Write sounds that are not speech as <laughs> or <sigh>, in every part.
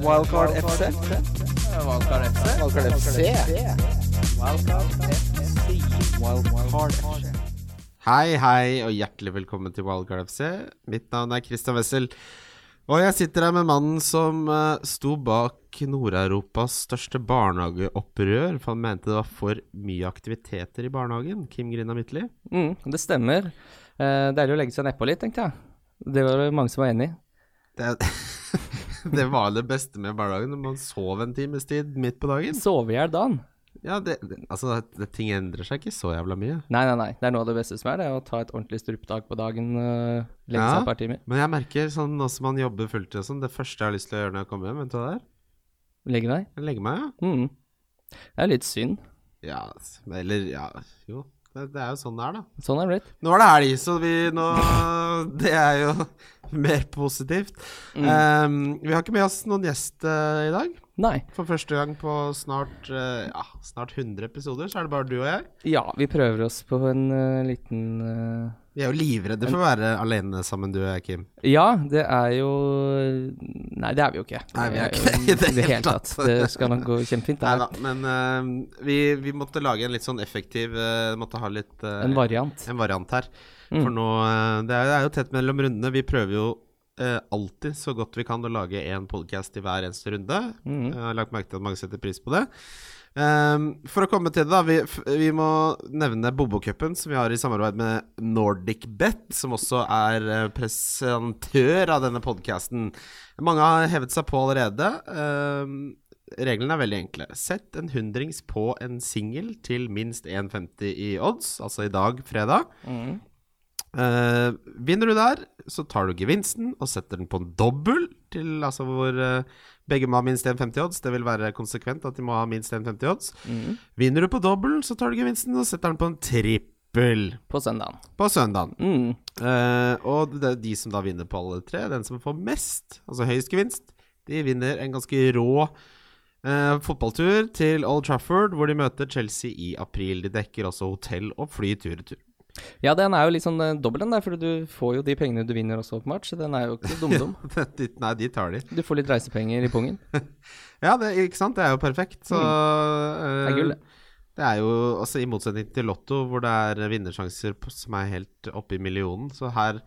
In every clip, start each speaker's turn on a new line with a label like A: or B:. A: Wildcard FC.
B: Valgkar FC.
A: Wildcard FC. Wildcard FC.
C: Hei, hei, og hjertelig velkommen til Wildcard FC. Mitt navn er Christian Wessel. Og jeg sitter her med mannen som eh, sto bak Nord-Europas største barnehageopprør, for han mente det var for mye aktiviteter i barnehagen. Kim Grina Midtly.
D: Mm, det stemmer. Eh, deilig å legge seg nedpå litt, tenkte jeg. Det var det mange som var enig i.
C: Det, <laughs> det var det beste med barnehagen, når man sov en times tid midt på dagen.
D: Sove i hjel dagen.
C: Ja, det, det, altså, det, ting endrer seg ikke så jævla mye.
D: Nei, nei, nei. Det er noe av det beste som er, det er å ta et ordentlig strupetag på dagen. eh, legge
C: Ja.
D: seg et par timer.
C: Men jeg merker, sånn nå som man jobber fulltid og sånn, det første jeg har lyst til å gjøre når jeg kommer hjem, vet du hva det er?
D: Legge deg.
C: Legge meg, ja.
D: Mm. Det er litt synd.
C: Ja, s- eller ja, jo. Det, det er jo sånn det er, da.
D: Sånn er det blitt.
C: Nå er det helg, så vi nå <laughs> Det er jo <laughs> mer positivt. Ehm, vi har ikke med oss noen gjest eh, i dag.
D: Nei.
C: For første gang på snart, eh, ja, snart 100 episoder, så er det bare du og jeg.
D: Ja, vi prøver oss på en eh, liten eh,
C: Vi er jo livredde for å være alene sammen, du og jeg, Kim.
D: Ja, det er jo Nei, det er vi jo ikke.
C: Nei, vi er
D: jo
C: ikke det i det
D: i det
C: hele
D: hele tatt.
C: tatt.
D: Det skal nok gå kjempefint.
C: Nei da,
D: Det
C: men eh, vi, vi måtte lage en litt sånn effektiv eh, Måtte ha litt eh,
D: er en variant.
C: en variant her. For nå eh, det er, det er jo tett mellom rundene. Vi prøver jo eh, alltid så godt vi kan å lage én podkast i hver eneste runde. Jeg har lagt merke til at mange setter pris på det. Ehm, for å komme til det, da. Vi, f vi må nevne Bobokupen, som vi har i samarbeid med NordicBet, som også er eh, presentør av denne podkasten. Mange har hevet seg på allerede. Ehm, Reglene er veldig enkle. Sett en hundrings på en singel til minst 1,50 i odds, altså i dag, fredag. Eh, vinner du der, så tar du gevinsten og setter den på en dobbel til altså hvor eh, begge må ha minst 1,50 odds. Det vil være konsekvent at de må ha minst 1,50 odds. Vinner du på dobbel, så tar du gevinsten og setter den på en trippel
D: På søndagen.
C: på søndagen.
D: Mm.
C: Eh, og det er de som da vinner på alle tre, den som får mest, altså høyest gevinst, de vinner en ganske rå eh, fotballtur til Old Trafford, hvor de møter Chelsea i april. De dekker også hotell og fly tur-retur.
D: Ja, den er jo litt sånn eh, dobbel, den der, for du får jo de pengene du vinner også, åpenbart. Så den er jo ikke
C: <laughs>
D: dum-dum.
C: <laughs> Nei, de tar de.
D: Du får litt reisepenger i pungen.
C: Ja, det, ikke sant? Det er jo perfekt. Så eh,
D: Mm. Det er gull, det.
C: Det er jo altså I motsetning til Lotto, hvor det er vinnersjanser på- som er helt oppe i millionen, så her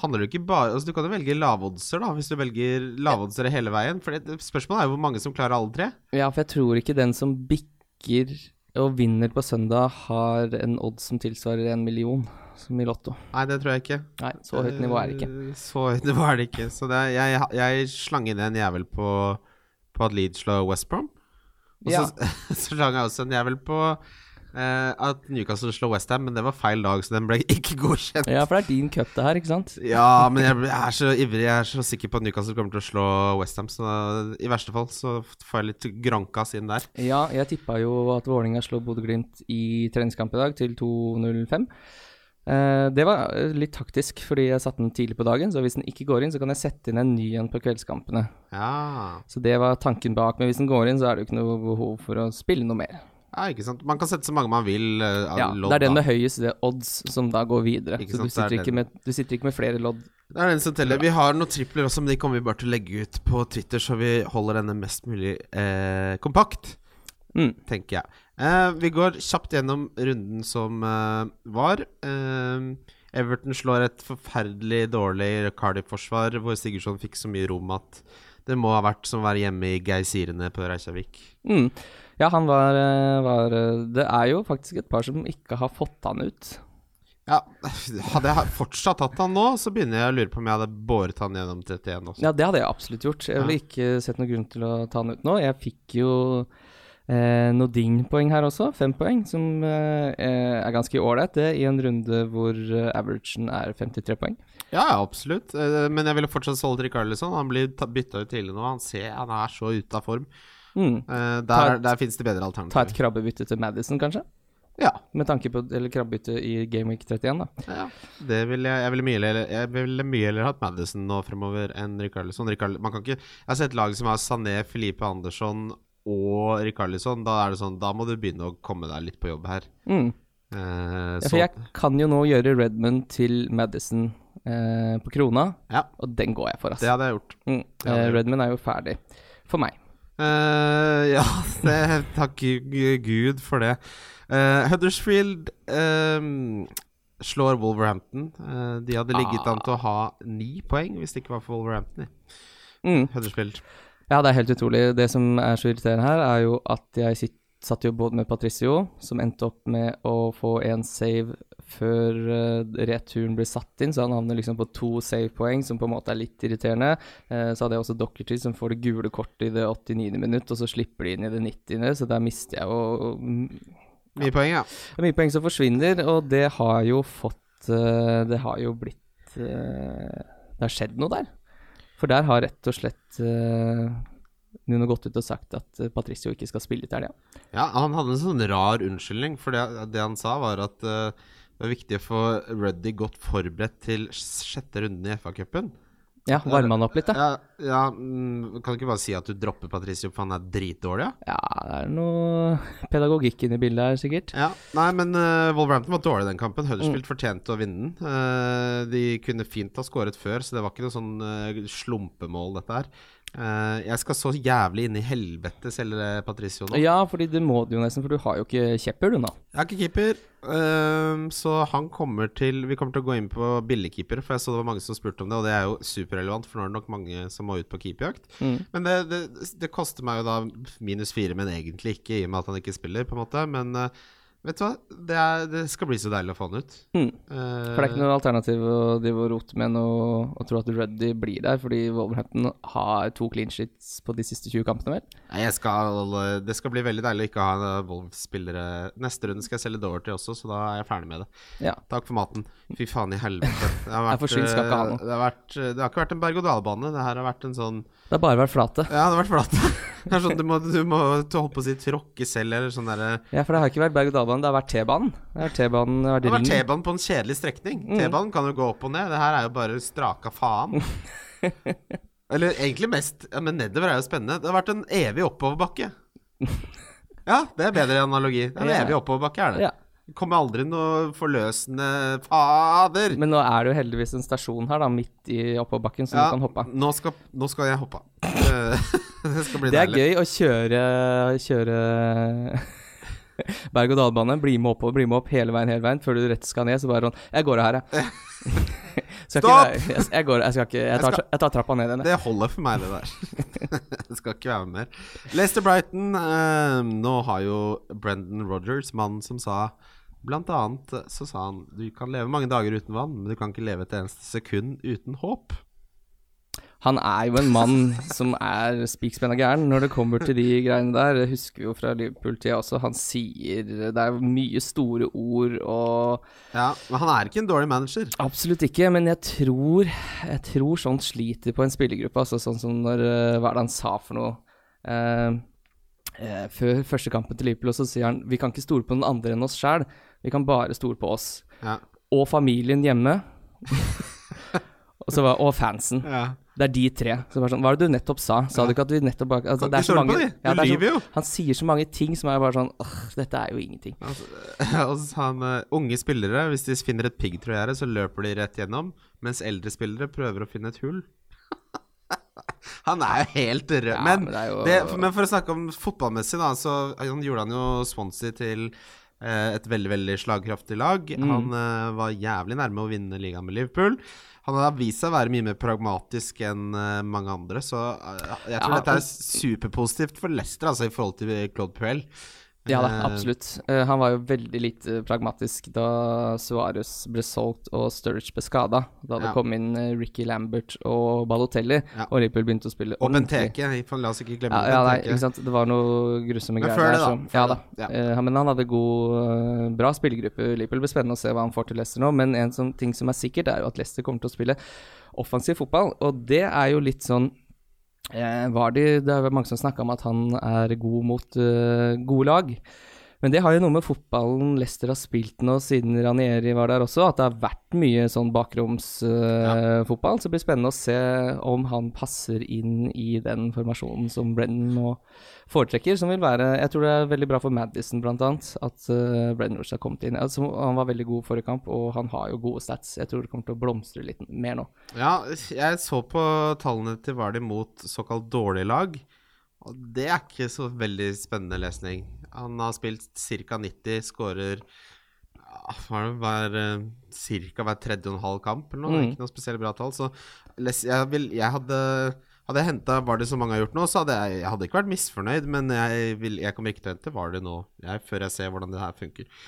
C: handler det ikke bare Altså Du kan jo velge lavoddser, da, hvis du velger lavoddser hele veien. For det, spørsmålet er jo hvor mange som klarer alle tre.
D: Ja, for jeg tror ikke den som bikker og vinner på søndag, har en odd som tilsvarer en million, som i Lotto.
C: Nei, det tror jeg ikke.
D: Nei, så høyt nivå er det ikke.
C: Eh, Så høyt nivå er det ikke. Så det er, jeg, jeg slang inn en jævel på, på at Leeds slår West Brom. <laughs> Og
D: Ja.
C: så, så slang jeg også en jævel på eh, at Newcastle slår Westham, men det var feil dag, så den ble ikke godkjent.
D: Ja, for det er din cup, det her, ikke sant?
C: Ja, men jeg jeg er så ivrig. Jeg er så sikker på at Newcastle kommer til å slå Westham. Så i verste fall så får jeg litt grankas inn der.
D: Ja, jeg tippa jo at Vålerenga slo Bodø-Glimt i treningskamp i dag, til 2.05. Eh, det var eh, litt taktisk, fordi jeg satte den tidlig på dagen, så hvis den ikke går inn, så kan jeg sette inn en ny en på kveldskampene.
C: Ja.
D: Så det var tanken bak, men hvis den går inn, så er det jo ikke noe behov for å spille noe mer.
C: ja, ikke sant. Man kan sette så mange man vil. eh, av
D: Ja,
C: lodd,
D: det er den
C: da.
D: med høyest odds som da går videre.
C: Ikke
D: Så
C: sant,
D: du
C: det er
D: sitter, ikke
C: den.
D: med, du sitter ikke med flere lodd.
C: Det er den som teller. Vi har noen tripler også, men de kommer vi bare til å legge ut på Twitter, så vi holder denne mest mulig eh, kompakt,
D: Mm.
C: tenker jeg. Eh, vi går kjapt gjennom runden som eh, var. Eh, Everton slår et forferdelig dårlig Cardiff-forsvar, hvor Sigurdsson fikk så mye rom at det må ha vært som å være hjemme i Geysirene på Reykjavik.
D: Mm. Ja, han var, eh, var eh, Det er jo faktisk et par som ikke har fått han ut.
C: Ja, hadde jeg fortsatt hatt han nå, så begynner jeg å lure på om jeg hadde båret han gjennom 31 også.
D: Ja, det hadde jeg absolutt gjort. Jeg ville ikke sett noen grunn til å ta han ut nå. Jeg fikk jo eh, Nodin-poeng her også, fem poeng, som eh, er ganske ålreit, det, i en runde hvor eh, averagen er 53 poeng.
C: Ja, ja, absolutt. Eh, Men jeg ville fortsatt solgt Rikarlison. Han blir ta- bytta ut tidlig nå. Han, ser, han er så ute av form.
D: Mm. Ta
C: Eh, Der,
D: et-
C: der fins det bedre
D: Ta et
C: alternativer.
D: krabbebytte til Madison, kanskje?
C: Ja,
D: Med tanke på Eller krabbebytte i Game Week 31, da.
C: ja. Det ville jeg, jeg ville mye heller Jeg ville mye heller hatt Madison nå fremover enn Rikarlison. Man kan ikke Jeg har sett lag som har Sané, Felipe Andersson og Rikarlison. Da er det sånn Da må du begynne å komme deg litt på jobb her.
D: Mm.
C: Eh,
D: Ja,
C: så
D: for jeg kan jo nå gjøre Redmond til Madison eh, på krona,
C: Ja.
D: og den går jeg for, ass.
C: Det hadde jeg gjort.
D: mm.
C: hadde
D: eh,
C: jeg
D: Redmond er jo ferdig. for meg.
C: Eh, ja, <laughs> det, takk gu- Gud for det. Eh, Huddersfield eh, slår Wolverhampton. Eh, de hadde ligget an til å ha ni poeng hvis det ikke var for Wolverhampton.
D: Mm.
C: Huddersfield.
D: Ja, det er helt utrolig. Det som er så irriterende her, er jo at jeg sitt, satt jo både med Patricio, som endte opp med å få én save før eh, returen ble satt inn, så han havner liksom på to savepoeng, som på en måte er litt irriterende. Eh, så hadde jeg også Dockerty, som får det gule kortet i det 89. minutt, og så slipper de inn i det 90., så der mister jeg jo mm,
C: Mye poeng, ja.
D: det er mye poeng som forsvinner, og det har jo fått eh, Det har jo blitt eh, Det har skjedd noe der. For der har rett og slett eh, Nuno gått ut og sagt at eh, Patricio ikke skal spille til helga.
C: Ja, han hadde en sånn rar unnskyldning, for det, det han sa var at eh, det var viktig å få Ruddy godt forberedt til sjette runden i FA-cupen.
D: Ja, varme han opp litt, da.
C: Ja, ja, mm, kan du ikke bare si at du dropper Patricio, for han er dritdårlig, ja?
D: Ja, det er noe pedagogikk inni bildet her, sikkert.
C: Ja, Nei, men eh, Wolverhampton var dårlig i den kampen. Huddersfield fortjente å vinne den. Eh, de kunne fint ha skåret før, så det var ikke noe sånn eh, slumpemål, dette her. Eh, jeg skal så jævlig inn i helvete, selge Patricio nå.
D: Ja, fordi det må du jo nesten, for du har jo ikke kjepper, du nå.
C: Jeg er ikke keeper, ehm, så han kommer til Vi kommer til å gå inn på billigkeeper, for jeg så det var mange som spurte om det, og det er jo superrelevant, for nå er det nok mange som må ut på keeperjakt. Men det, det, det koster meg jo da minus fire, men egentlig ikke, i og med at han ikke spiller, på en måte. Men eh, vet du hva, det, er, det skal bli så deilig å få han ut.
D: Mm.
C: Eh,
D: For det er ikke noe alternativ å drive og rote med noe og tro at Ruddy blir der, fordi Wolverhampton har to clean sheets på de siste 20 kampene, vel?
C: Nei, jeg skal, det skal bli veldig deilig å ikke ha en Wolves-spillere Neste runde skal jeg selge Doverty også, så da er jeg ferdig med det.
D: Ja.
C: Takk for maten. Fy faen i helvete. Det
D: <laughs>
C: har,
D: for skyld skal ikke ha noe.
C: eh, det har, vært, eh, det har ikke vært en berg-og-dal-bane. Det her har vært en sånn
D: Det har bare vært flate.
C: Ja, det har vært flatt. <laughs> Det er sånn, du må, du må du holdt på å si tråkke selv, eller sånn derre
D: Ja, for det har ikke vært berg-og-dal-banen, det har vært T-banen. Det har vært T-banen, det har
C: Det
D: vært
C: har vært
D: ringen.
C: T-banen på en kjedelig strekning.
D: Mm.
C: T-banen kan jo gå opp og ned. Det her er jo bare straka
D: <laughs>
C: faen. Eller egentlig mest ja, Men nedover er jo spennende. Det har vært en evig oppoverbakke. Ja, det er bedre analogi. Det er en
D: Ja.
C: evig oppoverbakke, er det.
D: Ja.
C: Det kommer aldri noe forløsende Fader!
D: Men nå er det jo heldigvis en stasjon her, da, midt i oppoverbakken, så
C: Ja,
D: du kan hoppe av.
C: Nå skal, nå skal jeg hoppe av. Eh, det <laughs> skal bli
D: Det er
C: deilig.
D: gøy å kjøre Kjøre <laughs> berg-og-dal-bane. Bli med oppover, bli med opp hele veien, hele veien, før du rett skal ned. Så bare sånn Jeg går av <laughs> her, jeg. Skal ikke
C: Stopp!
D: være- Jeg, jeg går, jeg skal ikke Jeg tar, jeg tar trappa ned igjen, jeg.
C: Det holder for meg, det der. <laughs> det skal ikke være mer. Leicester Brighton. eh, nå har jo Brendan Rogers, mannen som sa Blant annet eh, så sa han du kan leve mange dager uten vann, men du kan ikke leve et eneste sekund uten håp.
D: Han er jo en mann som er spikspenna gæren når det kommer til de greiene der. Jeg husker jo fra Liverpool-tida også, han sier Det er mye store ord og
C: Ja, Men han er ikke en dårlig manager.
D: Absolutt ikke, men jeg tror, jeg tror sånt sliter på en spillergruppe. Altså sånn som når eh, Hva er det han sa for noe? Eh, eh, før første kampen til Liverpool, og så sier han vi kan ikke stole på noen andre enn oss sjæl, vi kan bare stole på oss.
C: Ja.
D: Og familien hjemme. <laughs> og, så var, og fansen. Det er de tre. Så bare sånn, Hva er det du nettopp sa? Sa du ikke at vi nettopp bare altså,
C: Kan ikke stole på de. Du
D: det er så-
C: lyver jo.
D: Han sier så mange ting som er bare sånn Åh, dette er jo ingenting.
C: Og så sa han eh, unge spillere, hvis de finner et piggtrådgjerde, så løper de rett gjennom, mens eldre spillere prøver å finne et hull. <laughs> han er jo helt rød.
D: Ja,
C: men,
D: men det
C: det
D: er jo-
C: men for å snakke om fotballmessig, da, så eh, han gjorde han jo Swansea til eh, et veldig, veldig slagkraftig lag.
D: Mm.
C: Han eh, var jævlig nærme å vinne ligaen med Liverpool. Han har vist seg å være mye mer pragmatisk enn eh, mange andre, så eh, jeg tror
D: Ja,
C: dette
D: og-
C: er superpositivt for Leicester, altså, i forhold til Claude Puel.
D: Ja da, absolutt. Eh, han var jo veldig lite pragmatisk da Suarez ble solgt og Sturridge ble skada. Da det
C: Ja.
D: kom inn eh, Ricky Lambert og Balotelli,
C: Ja.
D: og Liverpool begynte å spille
C: Og
D: ordentlig.
C: Benteke. for La oss ikke glemme
D: Ja, ja, nei,
C: Benteke.
D: ikke sant. Det var noe grusomme
C: Men
D: greier
C: før
D: der.
C: det da,
D: som-
C: før
D: ja
C: det,
D: da.
C: ja.
D: Eh, han- men han hadde god, eh, bra spillergruppe. Liverpool blir spennende å se hva han får til Leicester nå. Men en som, ting som er sikkert, er jo at Leicester kommer til å spille offensiv fotball. Og det er jo litt sånn eh, var de, Det er vel mange som snakka om at han er god mot eh, gode lag. Men det har jo noe med fotballen Leicester har spilt nå siden Ranieri var der også, at det har vært mye sånn bakromsfotball. så det blir spennende å se om han passer inn i den formasjonen som Brennan nå foretrekker. Som vil være Jeg tror det er veldig bra for Madison, blant annet, at uh, Brennan Rush har kommet inn. Altså, han var veldig god forrige kamp, og han har jo gode stats. Jeg tror det kommer til å blomstre litt mer nå.
C: Ja, jeg så på tallene til Vardy mot såkalt dårlige lag. Og det er ikke så veldig spennende lesning. Han har spilt ca. 90, skårer ja, hva er det, hver, eh, ca. hver tredje og en halv kamp eller noe. Det er
D: Mm.
C: Ikke noe spesielt bra tall. Så les, jeg, vil, jeg hadde hadde jeg henta Vardø som mange har gjort nå, så hadde jeg, jeg hadde ikke vært misfornøyd, men jeg, vil, jeg kommer ikke til å hente Vardø nå, jeg, før jeg ser hvordan det her funker.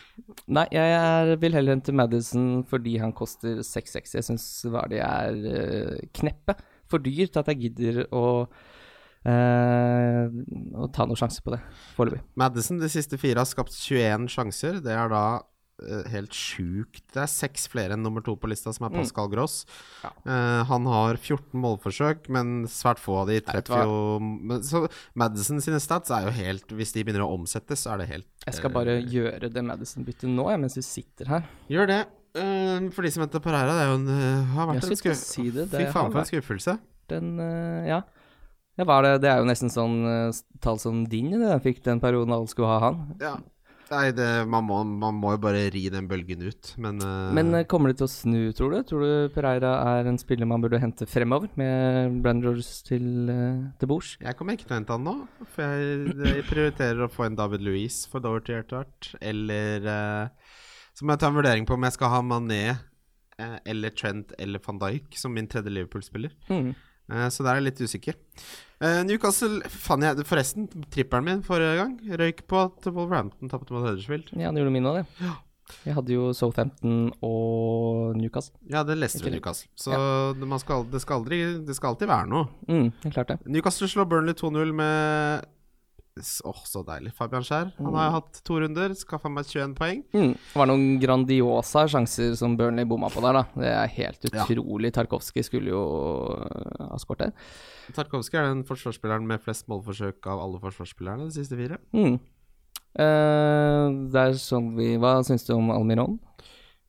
D: Nei, jeg er, vil heller hente Madison fordi han koster 6,6. Jeg syns Vardi er eh, kneppe for dyr til at jeg gidder å, eh, å ta noen sjanse på det foreløpig.
C: Madison de siste fire har skapt 21 sjanser. Det er da eh, helt sjukt. Det er seks flere enn nummer to på lista, som er Pascal Gross. Eh, han har 14 målforsøk, men svært få av de
B: hva?
C: treffer jo men, Så Madison sine stats er jo helt Hvis de begynner å omsettes, så er det helt
D: Jeg skal bare gjøre det Madison-byttet nå, jeg, mens vi sitter her.
C: Gjør det. Eh, for de som venter på Reira, det er jo en, eh, har vært
D: Jeg
C: en
D: skulle
C: skuff...
D: si det.
C: Fy
D: Det har
C: faen for en skuffelse.
D: den eh, Ja. Det var det. Det er jo nesten sånn eh, s- tall som din det jeg fikk den perioden alle skulle ha han.
C: Ja. Nei, det, man, må, man må jo bare ri den bølgen ut, men, eh,
D: Men eh, kommer det til å snu, tror du? Tror du Pereira er en spiller man burde hente fremover, med Brandon Rogers til, eh, til bords?
C: Jeg kommer ikke til å hente han nå, for jeg, jeg prioriterer å få en David Louise for Doverty etter hvert. Eller eh, så må jeg ta en vurdering på om jeg skal ha Mané eh, eller Trent eller van Dijk som min tredje Liverpool-spiller.
D: Mm.
C: Eh, så der er jeg litt usikker. Eh, Newcastle fant jeg Forresten, trippelen min forrige gang røyk på at Wolverhampton tapte mot Huddersfield.
D: Ja, han gjorde min òg, det. Jeg hadde jo Southampton og Newcastle.
C: Ja, det leste du, Newcastle. Så det, man skal, det, skal aldri, det skal alltid være noe.
D: Mm, jeg klarte det.
C: Newcastle slår Burnley 2-0 med S- Åh, så deilig. Fabian Skjær. Han har hatt to runder, skaffa meg 21 poeng.
D: Mm. Det var noen grandiosa sjanser som Burnley bomma på der, da. Det er helt utrolig. Tarkovskij skulle jo øh, ha skåret der.
C: Tarkovskij er den forsvarsspilleren med flest målforsøk av alle forsvarsspillerne de siste fire.
D: Mm. Eh, det er sånn vi Hva syns du om Almiron?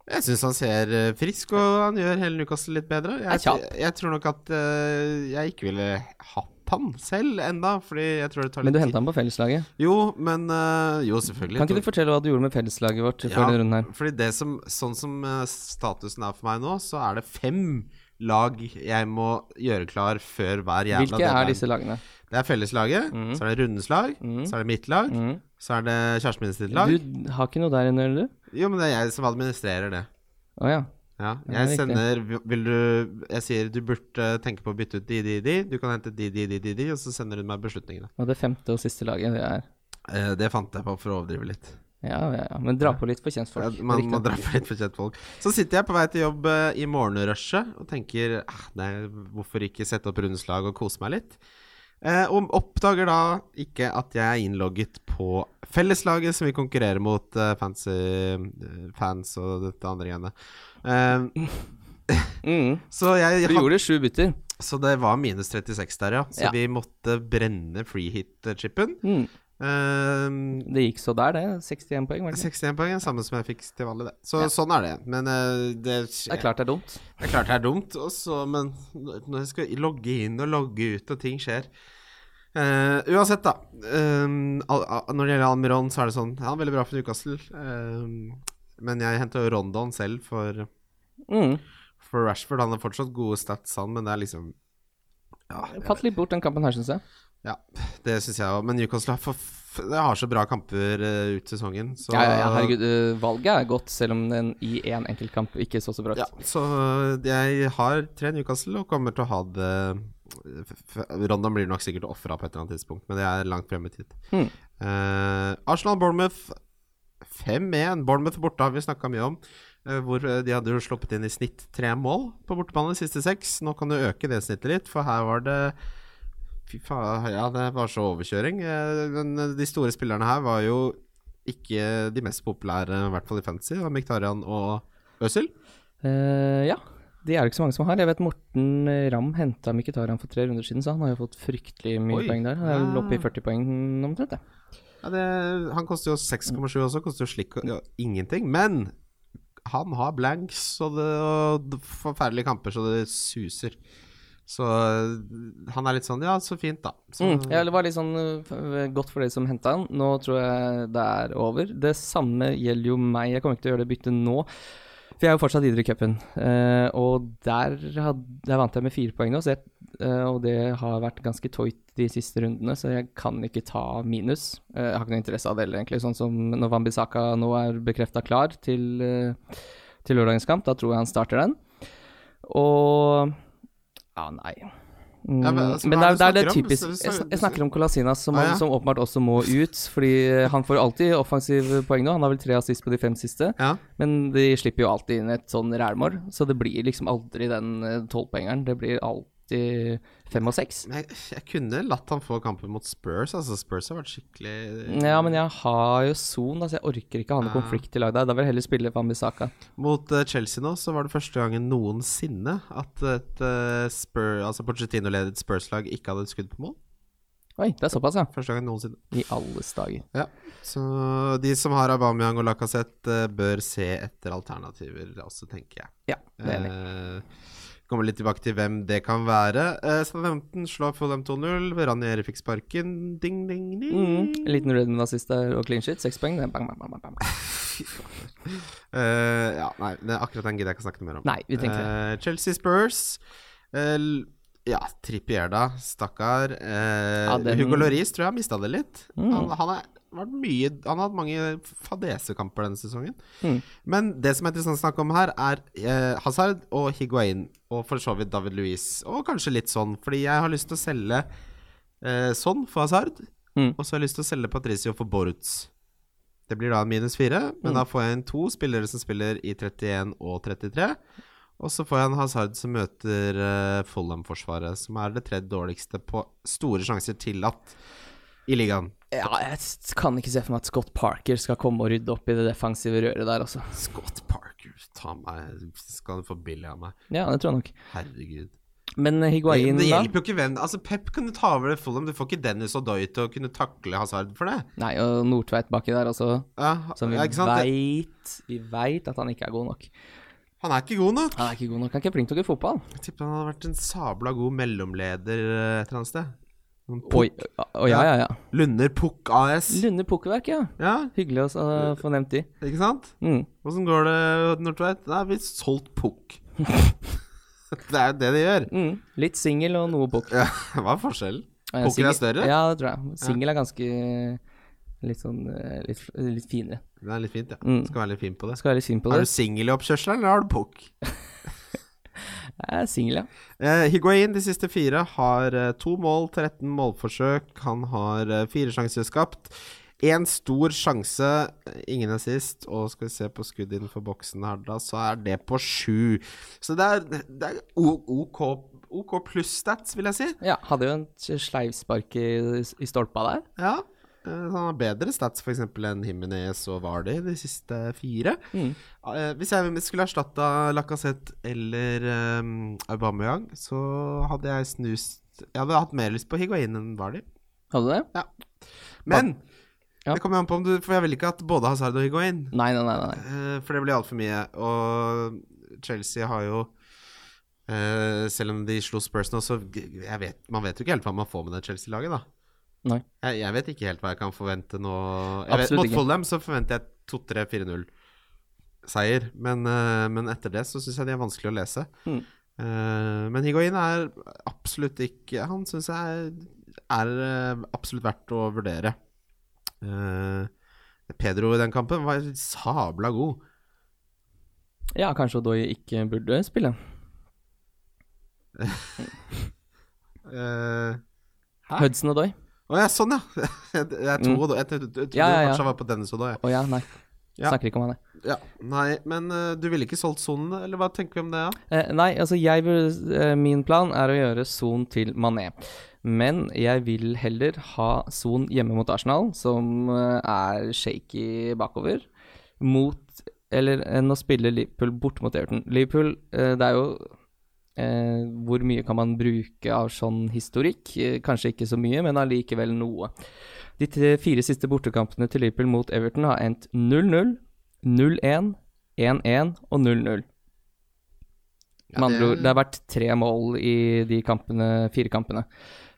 C: Jeg syns han ser eh, frisk og han gjør hele Newcastle litt bedre. Jeg,
D: Er kjapp.
C: jeg, tror nok at eh, jeg ikke ville hatt han selv enda, fordi jeg tror det tar
D: Men
C: litt
D: du henta ham på felleslaget.
C: tid. Jo, men eh, Jo, selvfølgelig.
D: Kan ikke du fortelle hva du gjorde med felleslaget vårt før denne runden her?
C: Fordi det som, sånn som eh, statusen er for meg nå, så er det fem lag jeg må gjøre klar før hver jævla
D: Hvilke er
C: deadline.
D: disse Mm. lagene?
C: Det er felleslaget, så er det rundens lag, så er det mitt lag, så er det kjæresten min sitt lag.
D: Mm. Du har ikke noe der inne, eller du?
C: Jo, men det er jeg som administrerer det.
D: Å ja.
C: Ja,
D: Ja,
C: jeg
D: riktig.
C: sender Vil du Jeg sier du burde tenke på å bytte ut de, de, de. Du kan hente de, de, de, de, de og så sender hun meg beslutningene.
D: Og det femte og siste laget, det er
C: Eh, Det fant jeg på for å overdrive litt.
D: Ja, ja, ja. Men dra på litt for kjentfolk.
C: Ja, man
D: Riktig.
C: må dra på litt for kjentfolk. Så sitter jeg på vei til jobb eh, i morgenrushet og tenker ah, nei, hvorfor ikke sette opp rundslag og kose meg litt. Eh, og oppdager da ikke at jeg er innlogget på felleslaget som vi konkurrerer mot eh, fancy eh, fans og dette andre greiene. Eh,
D: Mm.
C: så jeg
D: Du gjorde sju bytter.
C: så det var minus 36 der, ja. Så
D: Ja.
C: vi måtte brenne freehit-chipen.
D: Mm.
C: Eh,
D: Det gikk så der, det. 61 poeng, var det ikke?
C: 61 poeng er samme som jeg fikk til vanlig, det. Så sånn er det. Men eh, det,
D: Det er klart det er dumt.
C: Det er klart det er dumt, og så- men når jeg skal logge inn og logge ut, og ting skjer Eh, Uansett, da. ehm, al al når det gjelder Almiron, så er det sånn Ja, veldig bra for Newcastle. ehm, men jeg henta jo Rondon selv for,
D: Mm.
C: for Rashford. Han har fortsatt gode stats, han, men det er liksom Ja,
D: Fatt litt bort den kampen her, syns jeg.
C: ja det syns jeg òg. Men Newcastle har, for, f- det har så bra kamper eh, ut sesongen, så
D: Ja, ja, ja, herregud. øh, Valget er godt, selv om den i én enkeltkamp ikke så så bra ut.
C: Ja, så øh, jeg har tre Newcastle og kommer til å ha det øh, f- f- Rondon blir nok sikkert ofra på et eller annet tidspunkt, men det er langt frem i tid.
D: Mm.
C: Eh, Arsenal-Bournemouth 5-1. Bournemouth borte har vi snakka mye om. eh, Hvor eh, de hadde jo sluppet inn i snitt tre mål på bortebane de siste seks. Nå kan du øke det snittet litt, for her var det Fy faen, ja, det var så overkjøring. Eh, Men eh, de store spillerne her var jo ikke de mest populære, i hvert fall i fantasy. Det var Miktarian og Øzil.
D: Eh, ja. De er det ikke så mange som har. Jeg vet Morten Ramm henta Mkhitarian for tre runder siden, så han har jo fått fryktelig mye
C: Oi.
D: poeng der. Han er vel
C: Ja.
D: oppe i 40 poeng omtrent, det.
C: Ja, det, han koster jo 6,7 også, koster jo slik ja, ingenting. Men han har blanks og, det, og d- forferdelige kamper, så det suser. Så eh, han er litt sånn Ja, så fint, da. Så,
D: Mm. Ja, det var litt sånn øh, f- øh, godt for dere som henta han. Nå tror jeg det er over. Det samme gjelder jo meg. Jeg kommer ikke til å gjøre det byttet nå. For jeg er jo fortsatt videre i cupen. eh, og der, had, der vant jeg med fire poeng nå, så jeg, eh, og det har vært ganske toit de siste rundene, så jeg kan ikke ta minus. Eh, jeg har ikke noe interesse av det heller, egentlig. Sånn som når Wambisaka nå er bekrefta klar til, eh, til lørdagens kamp, da tror jeg han starter den. Og Ja, nei. Mm,
C: Ja,
D: men
C: men altså,
D: det er, det er det
C: hva er det du snakker om?
D: typisk
C: Så- så-
D: Jeg snak- jeg snakker om Colasinas, som,
C: Ah,
D: han-
C: ja.
D: som åpenbart også må ut. Fordi han får alltid offensive poeng nå. Han har vel tre assist på de fem siste.
C: Ja.
D: Men de slipper jo alltid inn et sånn rælmål, så det blir liksom aldri den tolvpoengeren. Det blir alltid fem og seks.
C: Men Jeg, jeg kunne latt han få kampen mot Spurs. Altså Spurs har vært skikkelig
D: Ja, men jeg har jo Son, altså jeg orker ikke ha noe
C: Ja.
D: konflikt i lag der. Da vil jeg heller spille Wambisaka.
C: Mot eh, Chelsea nå så var det første gangen noensinne at et eh, Spur, altså Pochettino-ledet Spurs-lag ikke hadde et skudd på mål.
D: Oi, det er såpass, ja.
C: Første gangen noensinne.
D: I alles dager.
C: Ja. Så de som har Aubameyang og Lacassette, eh, bør se etter alternativer også, tenker jeg.
D: Ja, det er enig.
C: Eh, kommer litt tilbake til hvem det kan være. Eh, Southampton slår Fulham 2-0. Ranieri fikk sparken. Ding, ding, ding.
D: Mm, en liten Redmond-assist der og clean shit. Seks poeng. det er Bang, bang, bang, bang, bang.
C: Eh, ja, nei, det er akkurat den gidder jeg ikke snakke noe mer om.
D: Nei, vi trenger ikke det.
C: Eh, Chelsea Spurs. Eh, l- ja, Trippier, da. Stakkar. Eh,
D: Ja, den- Mm.
C: Hugo Loris tror jeg har mista det litt. Han, han, er, vært mye, han har hatt mange fadesekamper denne sesongen.
D: Mm.
C: Men det som er interessant å snakke om her, er eh, Hazard og Higuain. Og for så vidt David Louis. Og kanskje litt sånn, fordi jeg har lyst til å selge eh, sånn for Hazard.
D: Mm.
C: Og så har jeg lyst til å selge Patricio for Borutz. Det blir da en minus fire,
D: Mm.
C: men da får jeg inn to spillere som spiller i 31 og 33. Og så får jeg en Hazard som møter uh, Follum-forsvaret, som er det tredje dårligste på store sjanser tillatt i ligaen.
D: Ja, jeg s- kan ikke se for meg at Scott Parker skal komme og rydde opp i det defensive røret der, altså.
C: Scott Parker, ta meg Skal du få billig av meg?
D: Ja, det tror jeg nok.
C: Herregud.
D: Men eh,
C: Det,
D: Higuain,
C: det
D: da?
C: hjelper jo ikke hvem Altså, Pep kunne ta over det Follum. Du får ikke Dennis og Doy til å kunne takle Hazard for det.
D: Nei, og Nordtveit baki der også,
C: Ja,
D: som vi
C: ja, ikke sant? Det-
D: veit Vi veit at han ikke er god nok.
C: Han er ikke god nok.
D: Han er ikke god nok. Han er ikke flink til å gå i fotball.
C: Jeg tipper han hadde vært en sabla god mellomleder eh, et eller annet sted. Noen pok-
D: Oi, å, ja, ja, ja.
C: Lunder Pukk AS.
D: Lunde Pokerverk, ja.
C: Ja,
D: Hyggelig å s- å få nevnt de.
C: ikke sant?
D: Mm.
C: Åssen går det, Nordtveit? Nei, vi har solgt
D: <laughs>
C: Pukk. det er jo det de gjør.
D: Mm. Litt singel og noe bok.
C: Ja, <laughs> hva er forskjellen?
D: Eh,
C: Poker er
D: singel-
C: større?
D: Ja, det tror jeg. Singel er ganske litt sånn eh, litt, litt finere.
C: Det er litt fint, ja.
D: Mm.
C: Skal være litt fin på det.
D: Skal være litt synd på
C: Er
D: det.
C: du singel i oppkjørselen, eller har du Pukk?
D: Jeg er singel, ja.
C: Eh, Higuain de siste fire har eh, to mål, 13 målforsøk. Han har eh, fire sjanser skapt. Én stor sjanse, eh, ingen er sist. Og skal vi se på skudd innenfor boksen her, da, så er det på sju. Så det er, det er O- OK, OK pluss-stats, vil jeg si.
D: ja. Hadde jo en sleivspark i, i stolpa der.
C: Ja. eh, så Han har bedre stats for eksempel enn Himminez og Vardy de siste fire. Eh, Hvis jeg skulle erstatta Lacassette eller um, Aubameyang, så hadde jeg snust Jeg hadde hatt mer lyst på Higuain enn Vardy.
D: Hadde du det?
C: Men
D: Ja.
C: det kommer jo an på om du For jeg vil ikke at både Hazard og Higuain.
D: Nei, nei, nei. nei.
C: eh, For det blir altfor mye. Og Chelsea har jo eh, selv om de slo Spurs nå, så g- jeg vet, Man vet jo ikke helt hva man får med det Chelsea-laget, da.
D: Nei.
C: Jeg, jeg vet ikke helt hva jeg kan forvente nå. Jeg vet,
D: Absolutt
C: mot
D: ikke.
C: Fulham så forventer jeg 2-3-4-0-seier, men, eh, men etter det så syns jeg de er vanskelig å lese.
D: Mm.
C: Eh, men Higuain er absolutt ikke Han syns jeg er eh, absolutt verdt å vurdere. Eh, Pedro i den kampen var sabla god.
D: Ja, kanskje Odoi ikke burde spille.
C: Eh,
D: Hudson Odoi.
C: Å ja, sånn ja! <laughs> Jeg, jeg
D: Mm.
C: trodde jeg, trodde- jeg trodde
D: Ja, ja, ja.
C: kanskje han var på Dennis og da, jeg.
D: Å ja, nei.
C: Ja.
D: Snakker ikke om han, jeg.
C: Ja, nei, men eh, du ville ikke solgt sonen, eller hva tenker vi om det? Ja?
D: Eh, nei, altså jeg vil, eh, min plan er å gjøre Son til Mané. Men jeg vil heller ha Son hjemme mot Arsenal, som eh, er shaky bakover, mot Eller enn å spille Liverpool bort mot Everton. Liverpool, eh, det er jo eh, Hvor mye kan man bruke av sånn historikk? Eh, kanskje ikke så mye, men allikevel noe. De tre, fire siste bortekampene til Liverpool mot Everton har endt 0-0, 0-1, 1-1 og 0-0.
C: Ja,
D: Med andre
C: det-
D: ord, det har vært tre mål i de kampene, fire kampene.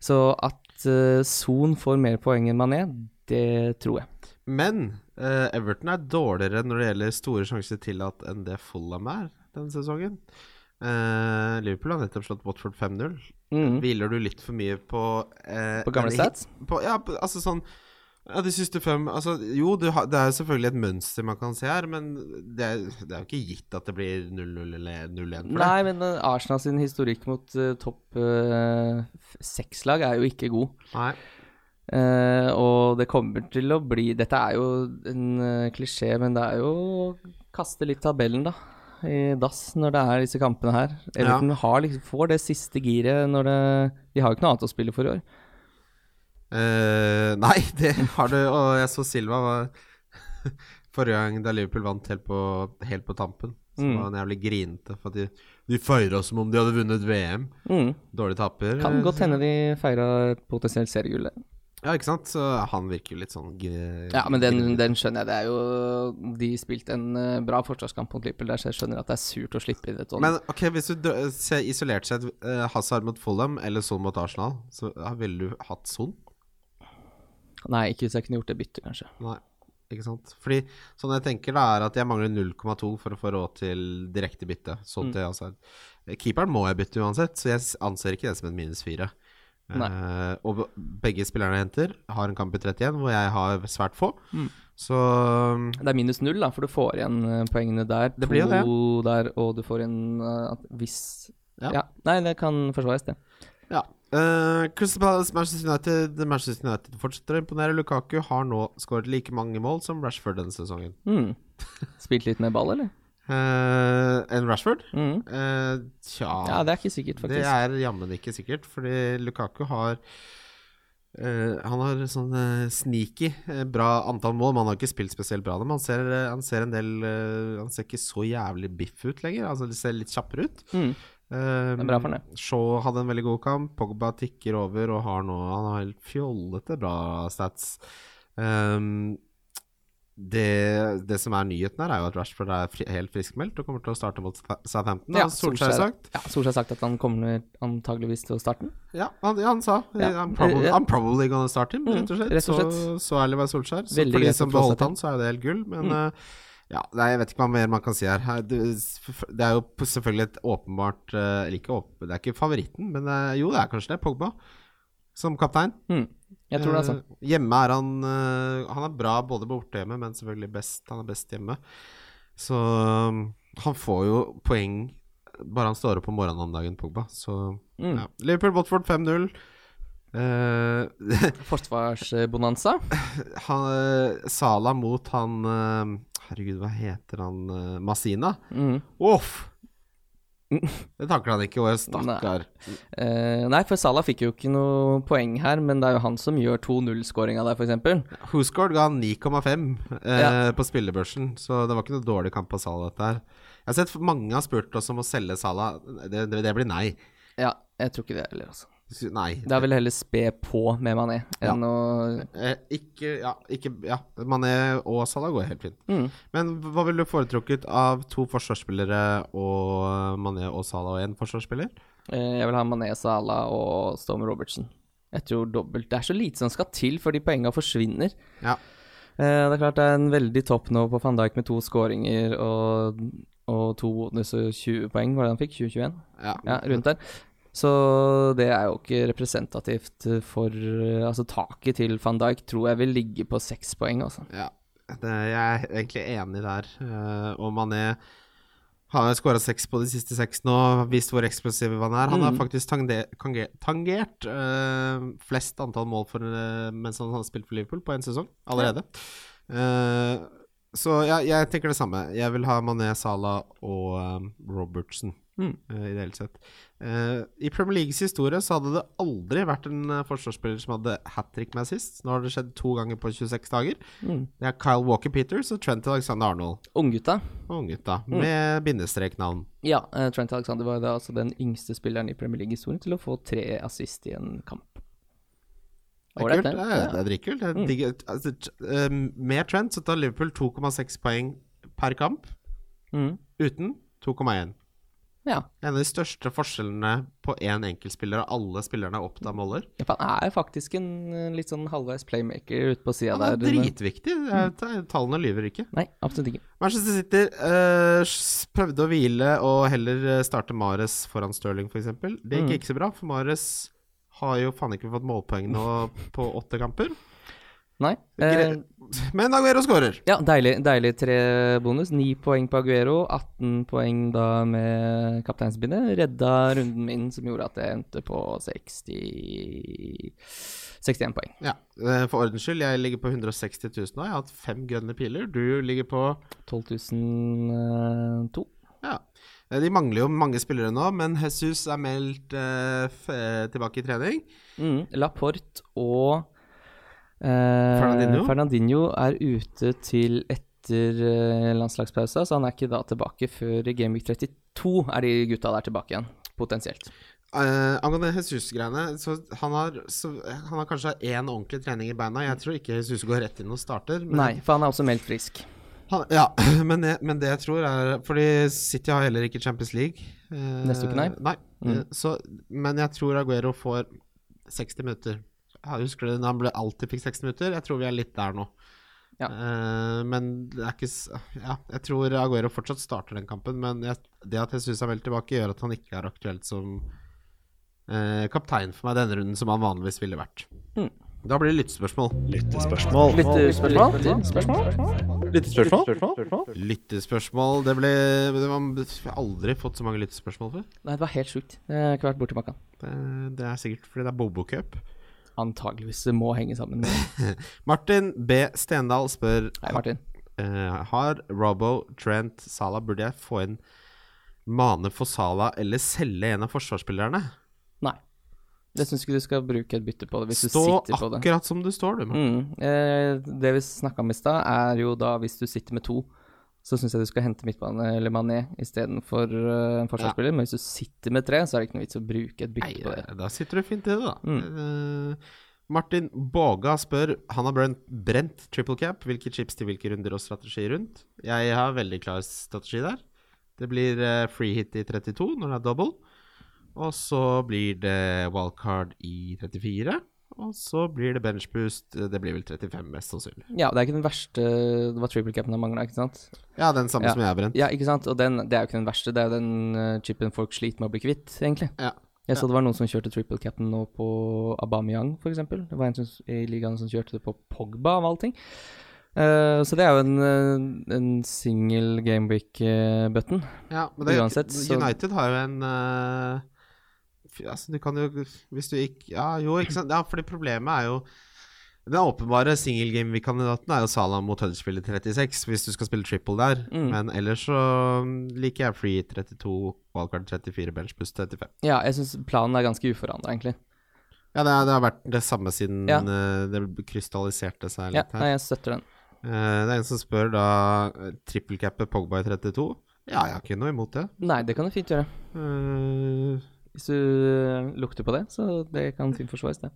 D: Så at eh, Son får mer poeng enn Mané, Det tror jeg.
C: Men eh, Everton er dårligere når det gjelder store sjanser til at enn det Fulham er denne sesongen. Eh, Liverpool har nettopp slått Watford 5-0.
D: Mhm.
C: Hviler du litt for mye på eh,
D: På gamle
C: en-
D: stats?
C: På, ja, på, altså sånn ja, de siste fem altså, Jo, du har, det er selvfølgelig et mønster man kan se her, men det er, det er jo ikke gitt at det blir 0-0 eller 0-1 for det.
D: Nei, men eh, Arsenal sin historikk mot eh, topp eh, f- seks-lag er jo ikke god.
C: Nei.
D: Eh, og det kommer til å bli Dette er jo en eh, klisjé, men det er jo å kaste litt tabellen, da. I dass når det er disse kampene her. Everton har liksom, får det siste giret når det De har jo ikke noe annet å spille for i år.
C: Eh, nei, <laughs> det har du. Og jeg så Silva var <laughs> Forrige gang da Liverpool vant helt på, helt på tampen, så
D: Mm.
C: var han jævlig grinete. For at de, de feira som om de hadde vunnet VM.
D: Mm.
C: Dårlig taper.
D: Kan godt hende de feira potensielt seriegullet.
C: Ja, ikke sant? Så han virker jo litt sånn gr-
D: Ja, men den, den skjønner jeg. Det er jo De spilte en eh, bra forsvarskamp mot Liverpool der, så jeg skjønner at det er surt å slippe inn et sånt.
C: Men ok, hvis du dø- ser isolert sett eh, Hazard mot Fulham eller Son mot Arsenal, så ja, ville du hatt Son?
D: Nei, ikke hvis jeg kunne gjort det byttet, kanskje.
C: Nei, ikke sant? Fordi sånn jeg tenker da er at jeg mangler 0,2 for å få råd til direkte bytte. Så
D: Mm.
C: til Hazard. Keeperen må jeg bytte uansett, så jeg s- anser ikke det som en minus fire. Eh, og be- begge spillerne jeg henter, har en kamp i 31 hvor jeg har svært få.
D: Mm.
C: Så um,
D: Det er minus null, da, for du får igjen eh, poengene der.
C: Det blir jo det.
D: to der, og du får en eh, at hvis
C: Ja.
D: ja. Nei, det kan forsvares, det.
C: ja. Eh, Crystal Palace, Manchester United Manchester United fortsetter å imponere. Lukaku har nå skåret like mange mål som Rashford denne sesongen.
D: Mm. Spilt litt med ball, eller?
C: Eh, enn Rashford?
D: Mm.
C: Eh, tja
D: Ja, det er ikke sikkert, faktisk.
C: Det er jammen ikke sikkert, fordi Lukaku har eh, han har sånn eh, sneaky eh, bra antall mål, men han har ikke spilt spesielt bra. Men han ser, eh, han ser en del eh, Han ser ikke så jævlig biff ut lenger. Altså, det ser litt kjappere ut.
D: Mm.
C: Eh,
D: Det er bra for han,
C: Shaw hadde en veldig god kamp. Pogba tikker over og har nå Han har helt fjollete bra stats. Um, det, det som er nyheten her, er jo at Rashford er fri, helt friskmeldt og kommer til å starte mot Sa- Southampton.
D: Ja,
C: har Solskjær
D: Solskjær.
C: sagt.
D: Ja, Solskjær har sagt at han kommer antageligvis til å starte den.
C: Ja, han, ja, han sa
D: Ja.
C: I'm, probably,
D: Ja. Mm,
C: I'm probably gonna start him, rett og slett.
D: rett og
C: Så, så ærlig var Solskjær. Så
D: Veldig
C: for de
D: greit Mm.
C: som
D: å forholde seg
C: beholdt han, så er det helt gull. Men eh, ja, nei, jeg vet ikke hva mer man kan si her. Her- Det, det er jo p- selvfølgelig et åpenbart eh, Eller ikke åpen, det er ikke favoritten, men eh, jo, det er kanskje det. Pogba som kaptein.
D: Mm. Jeg tror det, altså.
C: Eh, hjemme er han eh, Han er bra både borte hjemme, men selvfølgelig best. Han er best hjemme. Så um, han får jo poeng bare han står opp om morgenen om dagen, Pogba. Så
D: Mm.
C: ja. Liverpool-Botford 5-0. Eh, <laughs>
D: Forsvarsbonanza.
C: han, eh, Salah mot han eh, Herregud, hva heter han? eh, Masina?
D: Mm.
C: Uff! Det takler han ikke, og stakkar.
D: Eh, nei, for Salah fikk jo ikke noe poeng her, men det er jo han som gjør 2-0-skåringa der, f.eks.
C: Husgaard ga han 9,5 eh,
D: Ja.
C: på spillebørsen, så det var ikke noe dårlig kamp på Salah dette her. Jeg har sett mange har spurt oss om å selge Salah. Det, det, det blir nei.
D: Ja, jeg tror ikke det heller, altså.
C: Sy- Nei.
D: Det er vel heller spe på med Mané
C: Ja.
D: enn å
C: Eh, ikke Ja, ikke Ja, Mané og Salah går helt fint.
D: Mm.
C: Men hva ville du foretrukket av to forsvarsspillere og Mané og Salah og én forsvarsspiller?
D: Eh, Jeg vil ha Mané, Salah og Storm Robertson. Jeg tror dobbelt. Det er så lite som skal til før de poengene forsvinner.
C: Ja.
D: Eh, Det er klart det er en veldig topp nå på van Dijk med to skåringer og, og to bonuser og 20 poeng, var det han fikk? 2021?
C: Ja.
D: Ja, rundt der. Så det er jo ikke representativt for eh, Altså, taket til van Dijk tror jeg vil ligge på seks poeng, altså.
C: Ja, det, jeg er egentlig enig der. Eh, og Mané har skåra seks på de siste seks nå, vist hvor eksplosiv han er. Han har faktisk tange- kange- tangert eh, flest antall mål for, eh, mens han har spilt for Liverpool, på én sesong allerede. Eh, så ja, jeg tenker det samme. Jeg vil ha Mané, Salah og eh, Robertsen. eh, I det hele sett. Eh, I Premier Leagues historie så hadde det aldri vært en eh, forsvarsspiller som hadde hat trick med sist. Nå har det skjedd to ganger på 26 dager. Det er Kyle Walker Peters og Trent Alexander Arnold.
D: Unggutta.
C: Og unggutta med bindestreknavn.
D: Ja, eh, Trent Alexander var jo da altså den yngste spilleren i Premier League-historien til å få tre assist i en kamp.
C: Det er
D: Ålreit,
C: kult. Det
D: Ja.
C: er, det er dritkult. Det er digg- Altså, t- eh, med Trent så tar Liverpool 2,6 poeng per kamp.
D: Mm.
C: Uten 2,1.
D: Ja.
C: En av de største forskjellene på én enkeltspiller av alle spillerne opp da måler.
D: Ja, for Han er faktisk en eh, litt sånn halvveis playmaker ute på sida
C: Han
D: der.
C: er Mm. dritviktig. Det er- ta- Tallene lyver ikke.
D: Nei, absolutt ikke.
C: Manchester City eh, s- prøvde å hvile og heller eh, starte Mares foran Stirling, f.eks. Det gikk ikke så bra, for Mares har jo faen ikke fått målpoeng nå på åtte kamper.
D: Nei. Eh,
C: Gre- Men Aguero skårer.
D: ja, deilig, deilig tre bonus. Ni poeng på Aguero, 18 poeng da med kapteinsbindet. Redda runden min, som gjorde at jeg endte på 60 61 poeng.
C: Ja, eh, For ordens skyld, jeg ligger på 160 000 nå. Jeg har hatt fem grønne piler. Du ligger på
D: 12.002.
C: Ja. Eh, De mangler jo mange spillere nå, men Jesus er meldt eh, f eh, tilbake i trening.
D: Mm. Laporte og eh,
C: Fernandinho?
D: Fernandinho er ute til etter eh, landslagspausa, så han er ikke da tilbake før i Gameweek 32 er de gutta der tilbake igjen, potensielt.
C: Eh, angående Jesus-greiene, så han har, så han har kanskje én ordentlig trening i beina. Jeg tror ikke Jesus går rett inn og starter. Men
D: Nei, for han er også meldt frisk.
C: Han, ja, <laughs> men det, men det jeg tror er Fordi City har heller ikke Champions League. eh,
D: Neste uke, nei? Mm.
C: Eh, Så, men jeg tror Aguero får 60 minutter. Jeg husker du da han ble alltid fikk 60 minutter? Jeg tror vi er litt der nå.
D: Ja.
C: Eh, men det er ikke s- Ja, jeg tror Aguero fortsatt starter den kampen, men jeg, det at Jesus er vel tilbake, gjør at han ikke er aktuelt som eh, kaptein for meg denne runden, som han vanligvis ville vært.
D: Mm.
C: Da blir det lyttespørsmål.
E: Lyttespørsmål.
D: Lyttespørsmål?
C: Lyttespørsmål Det ble det var, Jeg har aldri fått så mange lyttespørsmål før.
D: Nei, det var helt sjukt. Jeg har ikke vært borti maken.
C: Det, det er sikkert fordi det er Bobo Cup.
D: Antageligvis det må henge sammen med
C: Martin B. Stendal spør
D: Hei, Martin.
C: eh, Har Robbo, Trent, Salah Burde jeg få inn Mane for Salah eller selge en av forsvarsspillerne?
D: Nei. Det syns ikke du skal bruke et bytte på det, hvis
C: Stå
D: du sitter på det.
C: akkurat som du står, du. Martin.
D: Mm. Eh, det vi snakka om i stad, er jo da hvis du sitter med to, så syns jeg du skal hente midtbane eller mané istedenfor uh, en forsvarsspiller. Men hvis du sitter med tre, så er det ikke noe vits å bruke et bytte på det.
C: Nei, da sitter du fint i det, da. Eh, Martin Båga spør Han har brent, brent triple cap. Hvilke chips til hvilke runder og strategi rundt? Jeg har veldig klar strategi der. Det blir eh, free hit i 32 når det er double. Og så blir det wildcard i 34. Og så blir det bench boost. Det blir vel 35, mest sannsynlig.
D: Ja, det er ikke den verste Det var triple capen han mangla, ikke sant?
C: Ja, den samme
D: Ja.
C: som jeg har brent.
D: Ja, ikke sant? Og den, det er jo ikke den verste. Det er jo den eh, chipen folk sliter med å bli kvitt, egentlig.
C: Ja.
D: Jeg så det var noen som kjørte triple capen nå på Aubameyang, for eksempel Det var en som, i ligaen som kjørte det på Pogba, av alle ting. Eh, så det er jo en, eh, en single eh, gamebrick-button.
C: Ja, men det, er-
D: Uansett, så-
C: United har jo en eh, fy- Altså, du kan jo Hvis du ikke Ja, jo, ikke sant. Ja, fordi problemet er jo Den åpenbare singelgame-kandidaten er jo Salah mot Huddersfield i 36, hvis du skal spille triple der. Men ellers så mm, liker jeg free 32, wildcard 34, bench pluss 35.
D: Ja, jeg syns planen er ganske uforandra, egentlig.
C: Ja, det, er, det har vært det samme siden
D: Ja.
C: eh, det krystalliserte seg
D: Ja,
C: litt her.
D: nei, jeg støtter den.
C: Eh, det er en som spør da eh, trippelcappet Pogba i 32. Ja, jeg har ikke noe imot det.
D: Nei, det kan du fint gjøre.
C: Eh,
D: Hvis du eh, lukter på det, så det
C: Mm.
D: kan fint forsvares, det.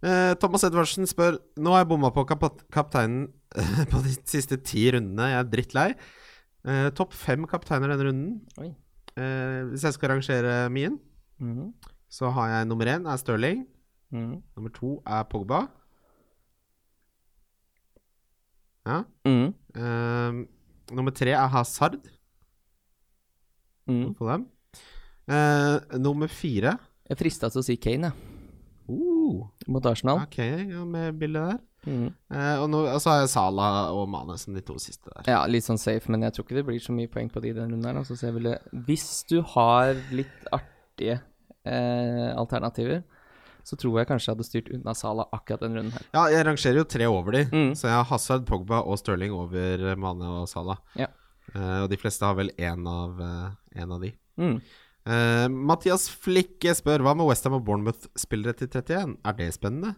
C: Eh, Thomas Edvardsen spør Nå har jeg bomma på kap kapteinen <laughs> på de siste ti rundene. Jeg er drittlei. Eh, Topp fem kapteiner denne runden.
D: Oi.
C: Eh, hvis jeg skal rangere min,
D: Mhm.
C: så har jeg nummer én er Stirling.
D: Mhm.
C: Nummer to er Pogba. Ja.
D: Mhm.
C: Eh, nummer tre er Hazard.
D: Mhm.
C: På dem. Eh, nummer fire
D: Jeg frista til å si Kane, jeg.
C: uh,
D: Mot Arsenal.
C: OK, ja, med bildet der.
D: Mhm.
C: Eh, og, nå, og så har jeg Salah og Mane som de to siste der.
D: Ja, litt sånn safe, men jeg tror ikke det blir så mye poeng på de i den runden her. da, Så jeg ville, hvis du har litt artige eh, alternativer, så tror jeg kanskje jeg hadde styrt unna Sala akkurat den runden her.
C: Ja, jeg rangerer jo tre over de,
D: Mm.
C: så jeg har Hazard, Pogba og Stirling over eh, Mane og Salah.
D: Ja.
C: Eh, og de fleste har vel én av, eh, en av de.
D: Mm.
C: Eh, Mathias Flikke spør hva med Westham og Bournemouth-spillere til 31? Er det spennende?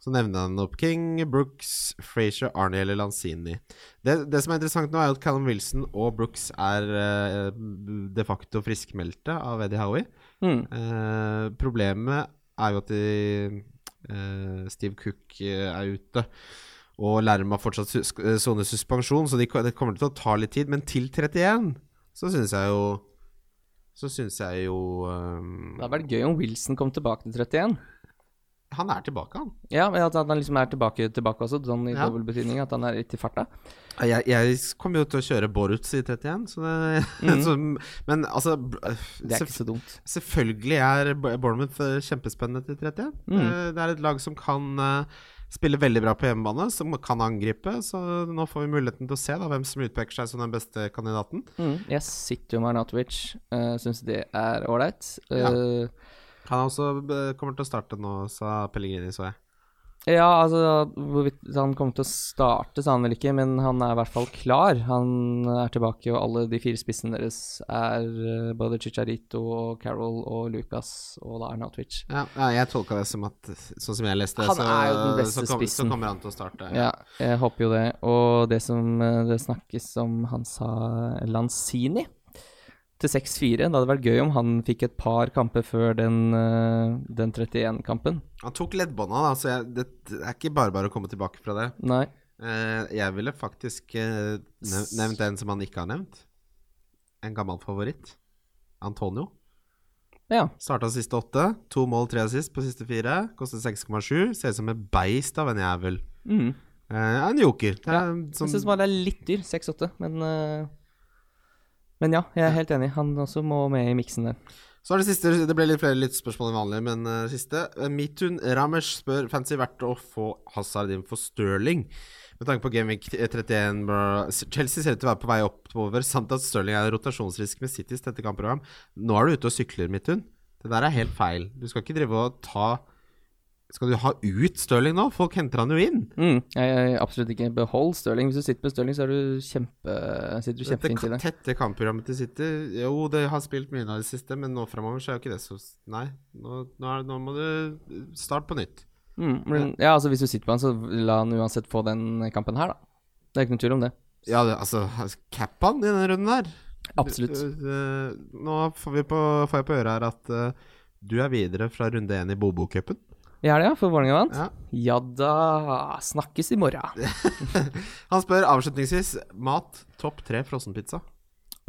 C: Så nevner han opp King, Brooks, Frazier, Arnie eller Lanzini. Det, det som er interessant nå, er jo at Callum Wilson og Brooks er eh, de facto friskmeldte av Eddie Howie.
D: Mm.
C: Eh, problemet er jo at de, eh, Steve Cook eh, er ute. Og Lerma fortsatt sus eh, soner suspensjon, så de, ko- det kommer til å ta litt tid. Men til 31 så syns jeg jo så syns jeg jo eh,
D: Det hadde vært gøy om Wilson kom tilbake til 31.
C: Han er tilbake, han.
D: Ja, men at, at han liksom er tilbake tilbake også, sånn i
C: Ja.
D: dobbel betydning. At han er litt i farta.
C: Jeg, jeg kommer jo til å kjøre Boruts i 31, så det <laughs> så, Men altså b-
D: Det er
C: selvf-
D: ikke så dumt.
C: Selvfølgelig er B- Bournemouth eh, kjempespennende til 31. Eh, Det er et lag som kan eh, spille veldig bra på hjemmebane, som kan angripe. Så nå får vi muligheten til å se da, hvem som utpeker seg som den beste kandidaten.
D: Mm. Jeg sitter jo med Arnautovic. Uh, Syns det er ålreit. Eh,
C: Han er også eh, kommer til å starte nå, sa Pellegrini, så jeg.
D: ja. altså hvorvidt han kommer til å starte, sa han vel ikke, men han er i hvert fall klar. Han er tilbake, og alle de fire spissene deres er eh, både Chicharito og Carol og Lucas og da Arnautovic.
C: Ja, nei, jeg tolka det som at sånn som jeg leste det,
D: Han
C: så,
D: er jo den beste
C: så, kom, så
D: spissen.
C: kommer han til å starte.
D: Ja, jeg håper jo det. Og det som eh, det snakkes om, han sa Lanzini til 6-4. Det hadde vært gøy om han fikk et par kamper før den, eh, den 31-kampen.
C: Han tok leddbånda, da, så jeg, det, det er ikke bare bare å komme tilbake fra det.
D: Nei.
C: Eh, jeg ville faktisk eh, nev nevnt en som han ikke har nevnt. En gammel favoritt. Antonio.
D: Ja.
C: Starta siste åtte. To mål, tre assist på siste fire. Kostet 6,7. Ser ut som et beist av en jævel.
D: Mm.
C: Eh, en joker. Det er en
D: Jeg syns
C: sånn,
D: bare det er litt dyr, 6-8, men eh, Men ja, jeg er helt enig. Han også må med i miksen der.
C: så er det siste. Det ble litt flere lyttspørsmål enn vanlig, men eh, siste. Eh, Mitun Ramesh spør fancy verdt å få Hazard inn for Stirling. Med tanke på eh, Gameweek 31 bra. Chelsea ser ut til å være på vei oppover, samt at Stirling er en rotasjonsrisk med Citys tette kampprogram. Nå er du ute og sykler, Midtun. Det der er helt feil. Du skal ikke drive og ta Skal du ha ut Stirling nå? Folk henter han jo inn.
D: Mm. Jeg, jeg, absolutt ikke behold Stirling. Hvis du sitter med Stirling, så er du kjempe, sitter du
C: Dette
D: kjempefint i
C: ka-
D: det.
C: tette kampprogrammet til City Jo, det har spilt mye nå i det siste, men nå framover så er jo ikke det så Nei, nå, nå, er, nå må du starte på nytt.
D: Mm. Men ja, altså hvis du sitter på han, så la han uansett få den kampen her, da. Det er ikke noen tvil om det.
C: Ja, det, altså Cap han i denne runden her.
D: Absolutt.
C: Du- du- Nå får, vi på, får jeg på øret her at eh, du er videre fra runde én i Bobo-cupen.
D: I helga, for Vålerenga vant?
C: Ja.
D: Ja. da Snakkes i morgen.
C: Han spør avslutningsvis mat topp tre frossenpizza.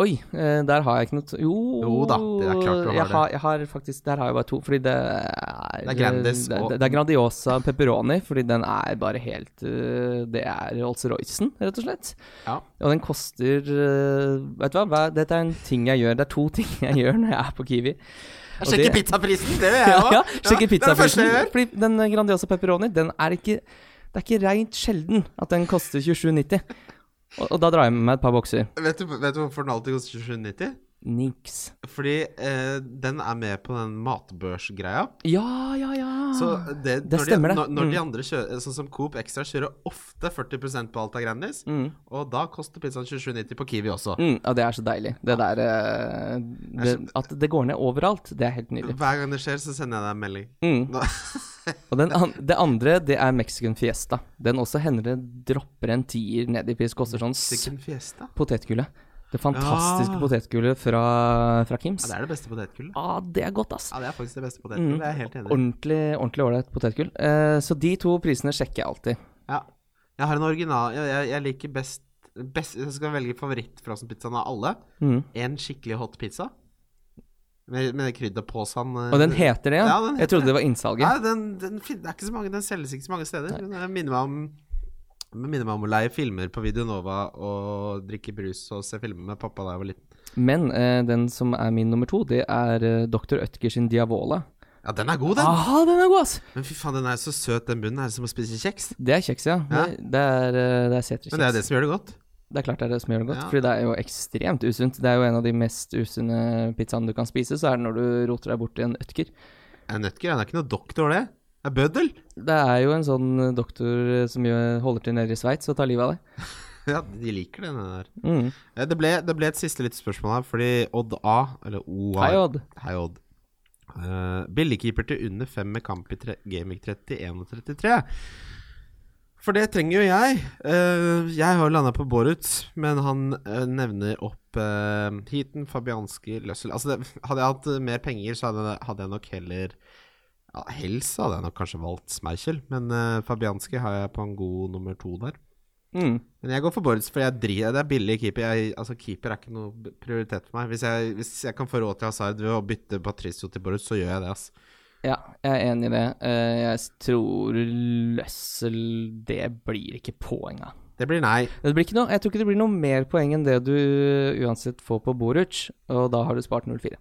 D: Oi, eh, der har jeg ikke noe t- Jo,
C: Jo da, det er klart du har
D: jeg
C: det.
D: Har, jeg har faktisk Der har jeg bare to, fordi det er
C: Det er Grandis
D: det,
C: og-
D: det, det er Grandiosa pepperoni, fordi den er bare helt eh, Det er Olsen-Roycen, rett og slett.
C: Ja.
D: Og den koster eh, Vet du hva, hva- dette er en ting jeg gjør. Det er to <laughs> ting jeg gjør når jeg er på Kiwi. Og
C: Jeg sjekker
D: det-
C: pizzaprisen! Det gjør jeg
D: <laughs> Ja,
C: òg!
D: ja, sjekker
C: det er det første
D: pizzaprisen.
C: jeg gjør.
D: Fordi den Grandiosa pepperoni, den er ikke Det er ikke reint sjelden at den koster 27,90. Og, og da drar jeg med meg et par bokser.
C: Vet du, vet du hvorfor den alltid koster 27,90?
D: Niks.
C: Fordi eh, den er med på den matbørsgreia.
D: Ja, ja, ja.
C: Så det,
D: Ah, Det stemmer
C: de,
D: det.
C: Når, når de
D: Mm.
C: andre kjører, sånn som Coop Extra, kjører ofte 40 på alt av Grandis, og da koster pizzaen 27,90 på Kiwi også.
D: Mm, ja, det er så deilig. Det der eh, det, At det går ned overalt, det er helt nydelig.
C: Hver gang det skjer, så sender jeg deg en melding.
D: Mm.
C: Nå-
D: Og den an det andre, det er Mexican Fiesta. Den også hender det dropper en tier ned i pris. Koster sånn s-
C: Sikken fiesta.
D: potetgullet. Det fantastiske
C: Ja.
D: potetgullet fra, fra Kims.
C: Ah. Ja, det er det beste potetgullet.
D: ah, det er godt, ass.
C: Ja, det er faktisk det beste potetgullet. Jeg er helt enig.
D: Ordentlig ordentlig ålreit potetgull. Eh, så de to prisene sjekker jeg alltid.
C: Ja. Jeg har en original Jeg, jeg, jeg liker best, best Jeg skal velge favorittfrossenpizzaen av alle.
D: Mhm.
C: En skikkelig hot pizza. Med, med det krydderposen
D: Og den heter det, ja?
C: Ja, den heter
D: jeg trodde det var innsalget.
C: eh, Nei, den, den, fin- det er ikke så mange, den selges ikke så mange steder. Den minner meg om den minner meg om å leie filmer på Videonova og drikke brus og se filmer med pappa da jeg var liten.
D: Men eh, den som er min nummer to, det er eh, Dr. Ødger sin Diavola.
C: Ja, den er god, den!
D: Ah, den er god, ass!
C: Men fy faen, den er så søt, den bunnen. Er det som å spise kjeks?
D: Det er kjeks, ja.
C: Ja.
D: Det, det er, eh, det er seterkjeks.
C: Men det er det som gjør det godt.
D: Det er klart det er det som gjør det godt,
C: Ja.
D: fordi det er jo ekstremt usunt. Det er jo en av de mest usunne pizzaene du kan spise, så er det når du roter deg borti en ødker.
C: En nøttker, han er ikke noe doktor, det. Det er bøddel! <laughs>
D: Det er jo en sånn eh, doktor eh, som gjør, holder til nede i Sveits og tar livet av deg.
C: Ja, de liker den den der.
D: Mm.
C: Eh, Det ble, det ble et siste lite spørsmål her, fordi Odd A, eller OA
D: Hei, Odd.
C: Hei, Odd. Eh, billigkeeper til under fem med kamp i tre- Gameweek 31 og 33. For det trenger jo jeg. Eh, jeg har landa på Boruts, men han eh, nevner opp uh, Heaton, Fabianski, Løssel Altså, det, hadde jeg hatt eh, mer penger, så hadde, hadde jeg nok heller ja, Helst hadde jeg nok kanskje valgt Smerkel, men eh, Fabianski har jeg på en god nummer to der.
D: Mm.
C: Men jeg går for Bårds, for jeg dri- det er billig keeper. Jeg, altså Keeper er ikke noe b- prioritet for meg. Hvis jeg, hvis jeg kan få råd til Hazard ved å bytte Patricio til Bård, så gjør jeg det. ass.
D: Ja, jeg er enig i det. Eh, jeg tror Løssel Det blir ikke poeng, da.
C: Det blir nei.
D: Det blir ikke noe, jeg tror ikke det blir noe mer poeng enn det du uansett får på Boruc, og da har du spart 0-4.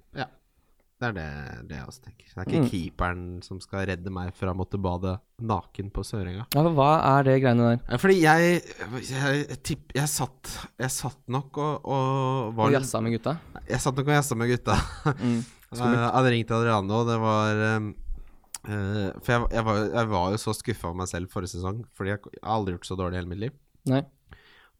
C: Det er det, det jeg også tenker. Det er ikke keeperen som skal redde meg fra å måtte bade naken på Sørenga.
D: Ja, for hva er det greiene der?
C: Nei, Fordi jeg jeg, tipp, jeg, satt, jeg satt nok og, og var
D: Og jazza med gutta?
C: Jeg satt nok og jazza med gutta. <laughs>
D: Mm.
C: jeg hadde ringt Adriano, og det var um, eh, For jeg, jeg, var, jeg var jo så skuffa over meg selv forrige sesong, fordi jeg, jeg har aldri gjort så dårlig i hele mitt liv.
D: Nei.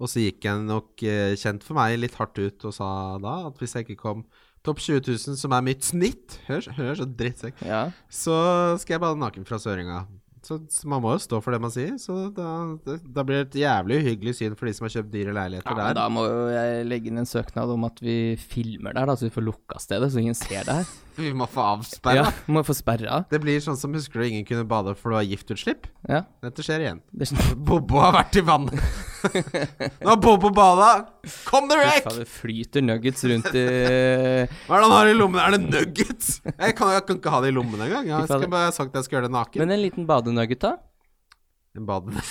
C: Og så gikk jeg nok eh, kjent for meg litt hardt ut og sa da at hvis jeg ikke kom topp 20 000, som er mitt snitt Hør, hør så drittsekk.
D: Ja.
C: Så skal jeg bade naken fra Søringa. Så, så man må jo stå for det man sier. Så da, det, da blir det et jævlig uhyggelig syn for de som har kjøpt dyre leiligheter
D: Ja, men
C: der.
D: da må jo jeg legge inn en søknad om at vi filmer der, da, så vi får lukka stedet, så ingen ser
C: <laughs>
D: det her.
C: Vi må få avsperra.
D: Ja, må få sperra.
C: Det blir sånn som husker du ingen kunne bade for det var giftutslipp.
D: Ja.
C: Dette skjer igjen.
D: Det er sånn-
C: Bobo har vært i
D: <laughs>
C: vannet. Nå har Bobo bada! Kom deg vekk!
D: det flyter nuggets rundt i
C: <laughs> Hva er det han har i lommen? Er det nuggets? Jeg kan, jeg kan ikke ha det i lommen engang. Jeg skal bare jeg har sagt jeg skal gjøre det naken.
D: Men en liten badenugget, da?
C: En bade-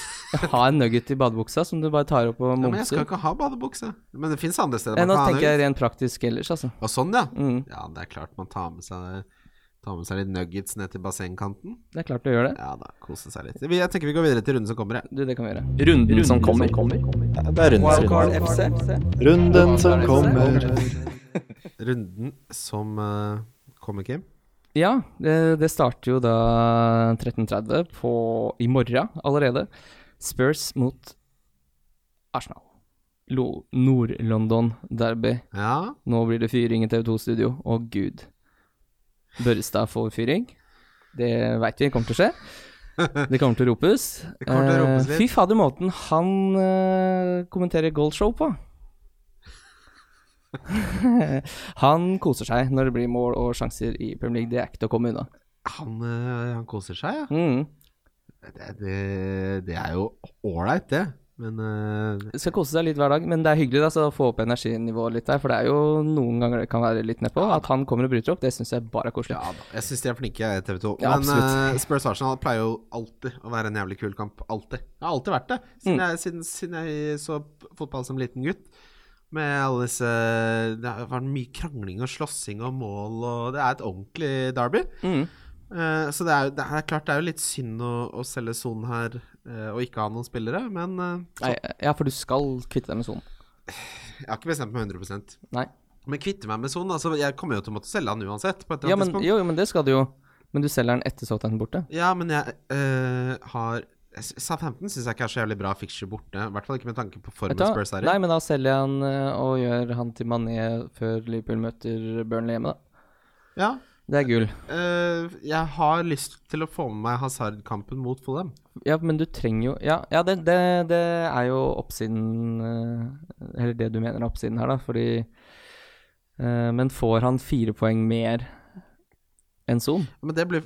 D: Ha en nugget i badebuksa som du bare tar opp og
C: Ja, men jeg
D: mumser.
C: skal ikke ha badebukse. Men det fins andre steder
D: Ja,
C: man
D: Nå
C: kan ha
D: tenker jeg
C: nuggets.
D: rent praktisk ellers, altså.
C: Og sånn, ja.
D: Mm,
C: Ja, det er klart man tar med seg Tar med seg litt nuggets ned til bassengkanten.
D: det er klart du gjør det.
C: Ja da, kose seg litt. Vi- Jeg tenker vi går videre til runden som kommer, jeg.
D: Du, det kan vi gjøre.
E: Runden som kommer. Det er runden som
A: Wildcard
E: kommer.
A: FC.
E: Runden som kommer.
C: Runden som eh, kommer, Kim.
D: Ja, det, det starter jo da 13.30 på, i morgen allerede. Spurs mot Arsenal. Lo- Nord-London-derby.
C: Ja.
D: Nå blir det fyring i TV2-studio. Å, gud. Børrestad får fyring. Det veit vi kommer til å
C: <laughs>
D: skje. Det kommer til å ropes.
C: Det kommer til å ropes
D: Eh,
C: litt.
D: Fy fader, måten han eh, kommenterer goalshow
C: <laughs>
D: på. han koser seg når det blir mål og sjanser i Premier League. Det er ikke til å komme unna.
C: Han, eh, han koser seg, ja.
D: Mm.
C: Det, det, det er jo ålreit, det. Men eh,
D: Skal kose seg litt hver dag, men det er hyggelig da, så å få opp energinivået litt der. For det er jo noen ganger det kan være litt nedpå. At han kommer og bryter opp, det syns jeg bare er koselig.
C: ja da. Jeg syns de er flinke, TV 2.
D: Ja,
C: Men
D: absolutt.
C: eh, Spurs Arsenal pleier jo alltid å være en jævlig kul kamp. Alltid. Det har alltid vært det. Siden, jeg, siden, siden jeg så p- fotball som liten gutt. Med alle disse Det har vært mye krangling og slåssing og mål, og det er et ordentlig derby.
D: Mm.
C: Eh, så det er, jo- det er klart det er jo litt synd å, å selge sonen her eh, og ikke ha noen spillere, men eh,
D: Nei, ja, for du skal kvitte deg med sonen.
C: jeg har ikke bestemt meg 100
D: Nei.
C: Men kvitte meg med sonen. Altså, jeg kommer jo til å måtte selge han uansett. På et eller
D: Ja,
C: annet
D: men,
C: tidspunkt.
D: jo, jo, men det skal du jo. Men du selger den etter Southampton borte?
C: Ja, men jeg eh, har jeg sy- Southampton syns jeg ikke er så jævlig bra fixture borte. I hvert fall ikke med tanke på
D: Vet
C: formen
D: du hva?
C: Spurs er i.
D: Nei, men da selger jeg han eh, og gjør han til Mané før Liverpool møter Burnley hjemme, da.
C: Ja,
D: Det er gull.
C: eh, jeg har lyst til å få med meg Hazard-kampen mot Fulham.
D: Ja, men du trenger jo Ja, ja det, det, det er jo oppsiden eh, Eller det du mener er oppsiden her, da, fordi eh, Men får han fire poeng mer enn Son?
C: Men det blir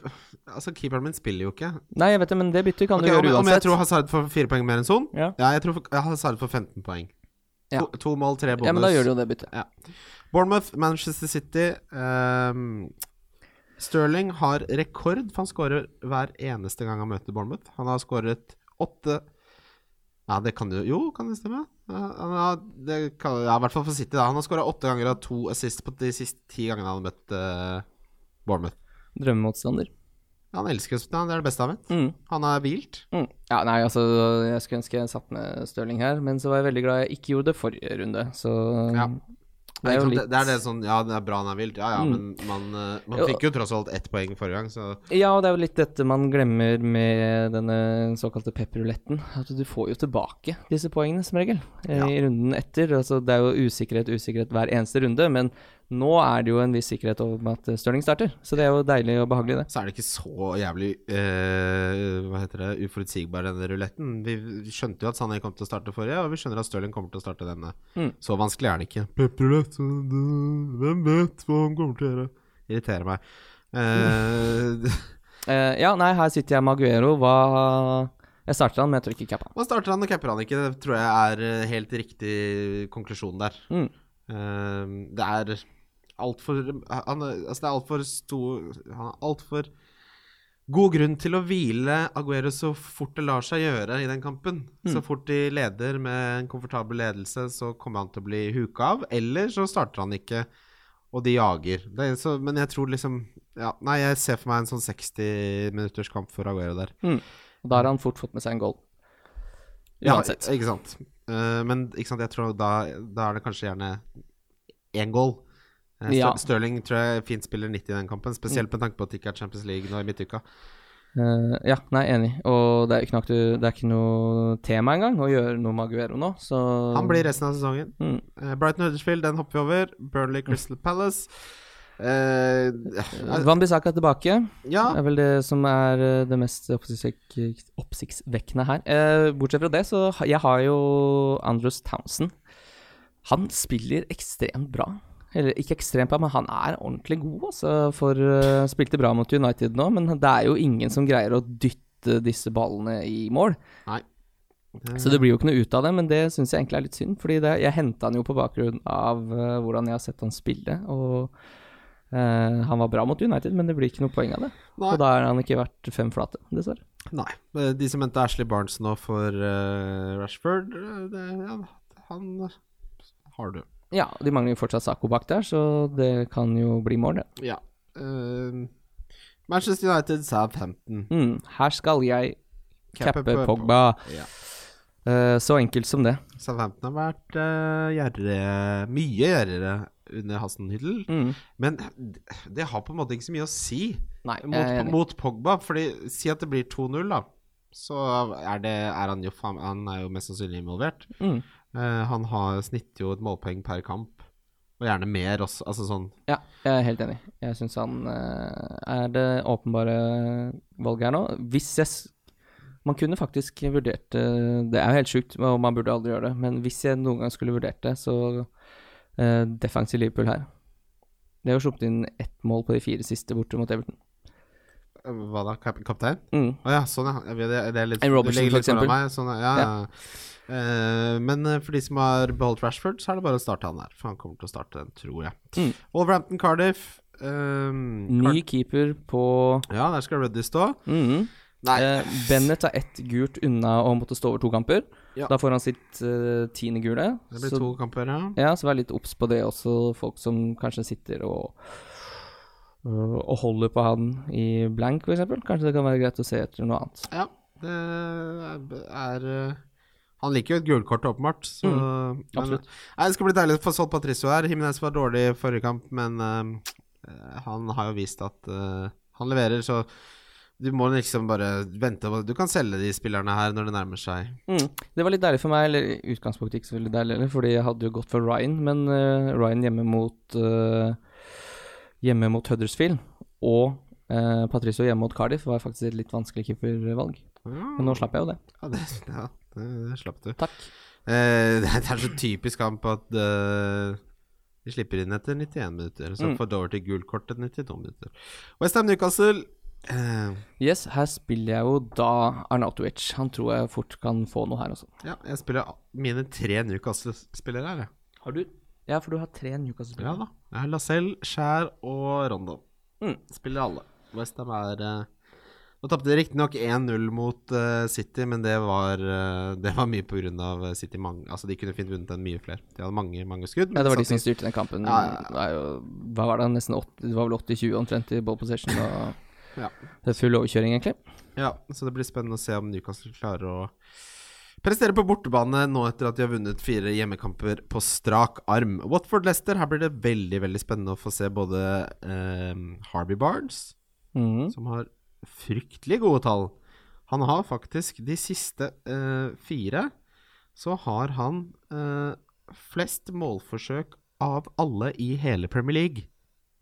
C: Altså, keeperen min spiller jo ikke.
D: Nei, jeg vet det, men det byttet kan
C: Ok,
D: du
C: om,
D: gjøre
C: jeg- om jeg
D: uansett.
C: tror Hazard får fire poeng mer enn Son?
D: Ja.
C: ja jeg tror f- Hazard får 15 poeng.
D: Ja.
C: To, to mål, tre bonus.
D: ja, men da gjør du jo det byttet.
C: Bournemouth, Manchester City ehm, Sterling har rekord, for han skårer hver eneste gang han møter Bournemouth. Han har skåret åtte Ja, det kan jo Jo, kan det stemme? Ja, han har, det kan, ja, I hvert fall for City. da Han har skåra åtte ganger og har to assist på de siste ti gangene han har møtt eh, Bournemouth.
D: Drømmemotstander.
C: Han elsker å spille, det er det beste han vet.
D: Mm.
C: Han er hvilt.
D: Mm. Ja, nei, altså, jeg skulle ønske jeg satt med Stirling her, men så var jeg veldig glad jeg ikke gjorde det forrige runde, så
C: Ja.
D: Det er jo
C: det,
D: litt
C: det er det sånn Ja, det er bra han er vilt. Ja ja,
D: Mm.
C: men man, eh, man
D: Jo.
C: fikk jo tross alt ett poeng forrige gang, så
D: Ja, og det er jo litt dette man glemmer med denne såkalte pepperuletten. At du får jo tilbake disse poengene som regel eh,
C: Ja.
D: i runden etter. Altså, det er jo usikkerhet, usikkerhet hver eneste runde, men nå er det jo en viss sikkerhet over at eh, Stirling starter. Så det er jo deilig og behagelig, det.
C: så er det ikke så jævlig eh, Hva heter det uforutsigbar, denne ruletten. Vi vi skjønte jo at Sané kom til å starte forrige, og vi skjønner at Stirling kommer til å starte denne.
D: Mm.
C: Så vanskelig er den ikke. Pepperlett, øh, hvem vet hva han kommer til å gjøre? Irriterer meg. Eh, <laughs>
D: Eh, ja, nei, her sitter jeg med Aguero. Hva Jeg starter han, men jeg tror ikke cappa.
C: Man starter han og capper han ikke. Det tror jeg er eh, helt riktig konklusjon der.
D: Mm.
C: Eh, det er altfor Han er- altså det er altfor stor Han har altfor god grunn til å hvile Aguero så fort det lar seg gjøre i den kampen. Så fort de leder med en komfortabel ledelse, så kommer han til å bli huka av. Eller så starter han ikke, og de jager. Det er så, men jeg tror liksom ja, Nei, jeg ser for meg en sånn 60 minutters kamp for Aguero der.
D: Og da har han fort fått med seg en goal.
C: Ja,
D: Uansett.
C: ikke sant. Eh, men ikke sant, jeg tror da, da er det kanskje gjerne én goal. Uh,
D: Ja. Mm.
C: Stirling tror jeg fint spiller 90 i den kampen, spesielt med tanke på at det ikke er Champions League nå i midtuka.
D: Eh, ja, nei, enig. Og det er ikke noe, aktu- det er ikke noe tema engang å gjøre noe med Aguero nå, så
C: Han blir resten av sesongen.
D: Mm.
C: Eh, Brighton Huddersfield, den hopper vi over. Burnley Crystal Palace. Eh,
D: Van Bissaka er tilbake. Det
C: ja,
D: er vel det som er eh, det mest oppsiktsvek- oppsiktsvekkende her. Eh, bortsett fra det, så ha- jeg har jo Andrews Townsend. Han spiller ekstremt bra. Eller ikke ekstremt bra, men han er ordentlig god, altså. For eh, spilte bra mot United nå, men det er jo ingen som greier å dytte disse ballene i mål.
C: Nei.
D: Så det blir jo ikke noe ut av det, men det syns jeg egentlig er litt synd. Fordi det, jeg henta han jo på bakgrunn av eh, hvordan jeg har sett han spille, og eh, han var bra mot United, men det blir ikke noe poeng av det.
C: Nei.
D: Og da er han ikke verdt fem flate, dessverre.
C: nei. Eh, De som henta Ashley Barnes nå for eh, Rashford, eh, det, ja, han har du.
D: Ja, de mangler jo fortsatt Sako bak der, så det kan jo bli mål, det.
C: Ja. Eh, Manchester United Southampton.
D: Mm, her skal jeg cappe Pogba.
C: Ja.
D: Eh, så enkelt som det.
C: Southampton har vært eh, gjerrige- mye gjerrigere under Hasenhyttel.
D: Mm.
C: Men det har på en måte ikke så mye å si
D: Nei, jeg
C: mot,
D: er enig.
C: mot Pogba. Fordi si at det blir 2-0, da. Så er, det, er han jo faen- Han er jo mest sannsynlig involvert.
D: Mm.
C: Eh, han har snitter jo et målpoeng per kamp, og gjerne mer også. Altså sånn
D: Ja, jeg er helt enig. Jeg syns han eh, er det åpenbare valget her nå. Hvis jeg s- Man kunne faktisk vurdert eh, det Det er jo helt sjukt, og man burde aldri gjøre det, men hvis jeg noen gang skulle vurdert det, så eh, defensiv Liverpool her. Det er jo sluppet inn ett mål på de fire siste borte mot Everton.
C: eh, Hva da? Kap kaptein?
D: Mm.
C: Å ja, sånn ja. Jeg vet, Det, det er litt,
D: En Robertson,
C: det ligger litt
D: for eksempel.
C: foran Meg, sånn, ja, ja. Eh, men eh, for de som har beholdt Rashford, så er det bare å starte han der. For han kommer til å starte den, tror jeg.
D: Mm.
C: Wolverhampton Cardiff. ehm,
D: Ny keeper på
C: Card- ja, der skal Ruddy stå.
D: Mhm.
C: Nei.
D: Eh, Bennett er ett gult unna å måtte stå over to kamper.
C: Ja.
D: Da får han sitt eh, tiende gule.
C: Det blir
D: så,
C: to kamper, ja.
D: Ja, så vær litt obs på det også, folk som kanskje sitter og øh, og holder på han i blank, f.eks. Kanskje det kan være greit å se etter noe annet.
C: Ja, det er eh, Han liker jo et gulkort, åpenbart. Så, men,
D: Mm. absolutt.
C: Nei, det skal bli deilig å få solgt Patricio her. Jimenez var dårlig i forrige kamp, men eh, han har jo vist at eh, han leverer, så du må liksom bare vente. og- Du kan selge de spillerne her når det nærmer seg.
D: Mm. Det var litt deilig for meg, eller i utgangspunktet ikke så veldig deilig heller, fordi jeg hadde jo gått for Ryan, men eh, Ryan hjemme mot eh, Hjemme mot Huddersfield og eh, Patricio hjemme mot Cardiff var faktisk et litt vanskelig keepervalg. Men nå slapp jeg jo det.
C: Ja, det, ja, det, det slapp du.
D: Takk.
C: Eh, <laughs> det er så typisk kamp at eh, de slipper inn etter 91 minutter. Så
D: Mm.
C: får Doverty gult kort etter 92 minutter. Westham Newcastle eh,
D: Yes, her spiller jeg jo da Arnautovic. Han tror jeg fort kan få noe her også.
C: Ja, jeg spiller mine tre Newcastle-spillere her, jeg.
D: Har du? Ja, for du har tre
C: Ja
D: Newcastle-spillere.
C: da. Jeg har Lacelle, Skjær og Rondo.
D: Mm.
C: Spiller alle. Westham er eh, Nå tapte de riktignok 1-0 mot eh, City, men det var, eh, det var mye pga. City. Mange, altså, de kunne fint vunnet den mye flere. De hadde mange, mange skudd.
D: Ja, det var de som
C: samtidig-
D: styrte den kampen.
C: Ja, ja, ja.
D: Det er jo, hva var det, nesten 80, det var vel 80-20 omtrent i ball possession. Og
C: Ja.
D: Det er full overkjøring, egentlig.
C: Ja, så det blir spennende å se om Newcastle klarer å prestere på bortebane nå etter at de har vunnet fire hjemmekamper på strak arm. Watford-Lester, her blir det veldig veldig spennende å få se både eh, Harvey Barnes,
D: Mhm.
C: som har fryktelig gode tall Han har faktisk de siste eh, fire Så har han eh, flest målforsøk av alle i hele Premier League,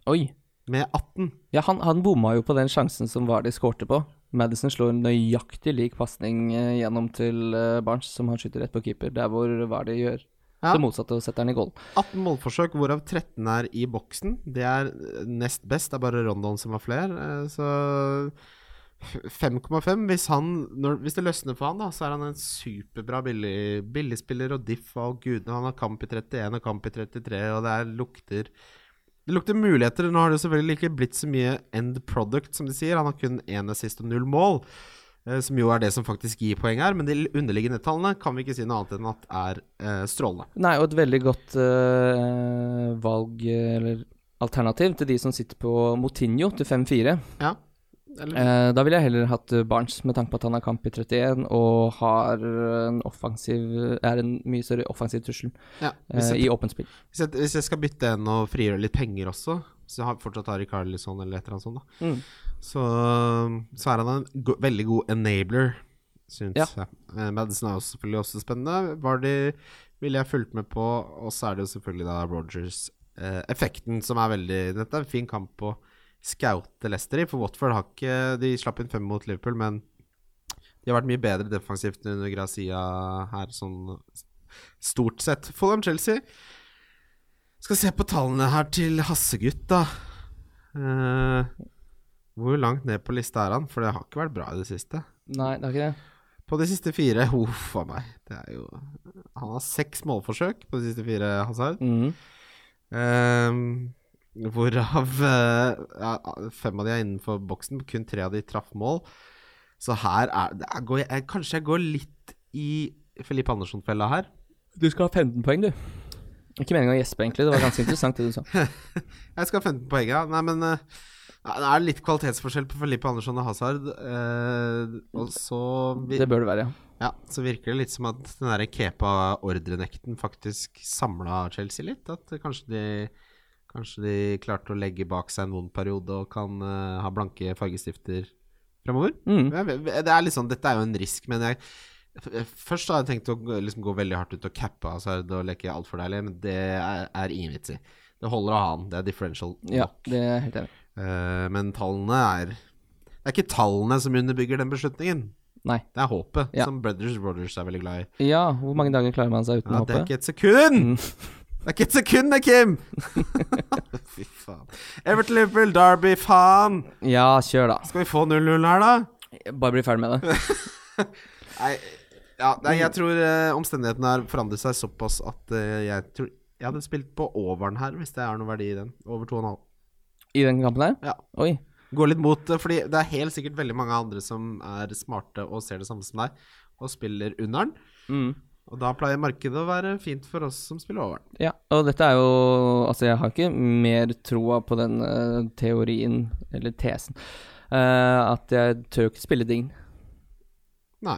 D: Oi.
C: med 18.
D: Ja, han, han bomma jo på den sjansen som var de skårte på. Madison slår en nøyaktig lik pasning eh, gjennom til eh, Barnes, som han skyter rett på keeper. Der hvor hva det gjør.
C: Ja.
D: Det motsatte, og setter den i goal.
C: 18 målforsøk, hvorav 13 er i boksen. Det er eh, nest best. Det er bare Rondon som har flere. eh, Så 5,5 hvis, han- når- hvis det løsner for han da, så er han en superbra billig, billigspiller og diff og alt gudene. Han har kamp i 31 og kamp i 33, og det er lukter Det lukter muligheter. Nå har det jo selvfølgelig ikke blitt så mye end product, som de sier. Han har kun én assist og null mål, eh, som jo er det som faktisk gir poeng her. Men de underliggende tallene kan vi ikke si noe annet enn at er eh, strålende.
D: Nei, og et veldig godt eh, valg, eh, eller alternativ, til de som sitter på Motinho til 5-4.
C: Ja. Eller,
D: Eh, da ville jeg heller hatt eh, Barnes, med tanke på at han har kamp i 31 og har en offensiv er en mye større offensiv trussel
C: ja.
D: eh,
C: Hvis jeg-
D: i åpent spill.
C: Hvis jeg, hvis jeg skal bytte en og frigjøre litt penger også, så jeg har fortsatt Ari Carlisson eller et eller annet sånt, da.
D: Mm.
C: Så, så er han en go veldig god enabler, syns
D: Ja.
C: jeg. Eh, Madison er jo selvfølgelig også spennende. Vardy ville jeg fulgt med på, og så er det jo selvfølgelig da Rogers-effekten som er veldig Dette er en fin kamp å scoute Leicester i, for Watford har ikke De slapp inn fem mot Liverpool, men de har vært mye bedre defensivt under Grazia her, sånn stort sett. Fulham-Chelsea skal se på tallene her til Hassegutt, da. Eh, hvor langt ned på lista er han? For det har ikke vært bra i det siste.
D: Nei, det er ikke det.
C: På de siste fire Huff a meg. Det er jo Han har seks målforsøk på de siste fire, Hazard.
D: Mm.
C: Eh, hvorav eh, ja, fem av de er innenfor boksen, kun tre av de traff mål. Så her er det er- går jeg, jeg- Kanskje jeg går litt i Felipe Andersson-fella her.
D: Du skal ha 15 poeng, du. Ikke meningen å gjespe, egentlig. Det var ganske interessant, det du sa.
C: Jeg skal ha 15 poeng, ja. Nei, men eh, det er litt kvalitetsforskjell på Felipe Andersson og Hazard. eh, og så, <laughs> vi,
D: Det bør det være, ja.
C: ja, så virker det litt som at den der Kepa-ordrenekten faktisk samla Chelsea litt. At kanskje de, kanskje de klarte å legge bak seg en vond periode og kan eh, ha blanke fargestifter fremover.
D: Mm.
C: Jeg vet- Det er litt sånn, dette er jo en risk, men jeg f- eh, Først har jeg tenkt å gå- liksom gå veldig hardt ut og cappe Hazard og leke altfor deilig, men det er, er ingen vits i. Det holder å ha han. Det er differential
D: ja. Det er jeg helt enig. i.
C: Eh, men tallene er Det er ikke tallene som underbygger den beslutningen.
D: Nei.
C: Det er håpet,
D: Ja.
C: som Brothers Brothers er veldig glad i.
D: Ja, hvor mange dager klarer man seg uten
C: Ja, det er
D: hoppet?
C: ikke et sekund!
D: Mm.
C: Det er ikke et sekund, det,
D: <laughs>
C: Kim! Fy faen. Everton Liverpool, Derby, faen!
D: Ja, kjør, da.
C: Skal vi få 0-0 her, da?
D: Bare bli ferdig med
C: <laughs>
D: det.
C: Nei, ja, nei jeg tror eh, omstendighetene har forandret seg såpass at eh, jeg tror Jeg hadde spilt på overen her, hvis det er noe verdi i den. Over 2,5.
D: I den kampen der?
C: Ja.
D: Oi.
C: Gå litt mot det, fordi det er helt sikkert veldig mange andre som er smarte og ser det samme som deg, og spiller under den.
D: Mm.
C: Og da pleier markedet å være fint for oss som spiller over den.
D: Ja, og dette er jo Altså, jeg har ikke mer troa på den eh, teorien, eller tesen, eh, at jeg tør ikke spille ding.
C: Nei.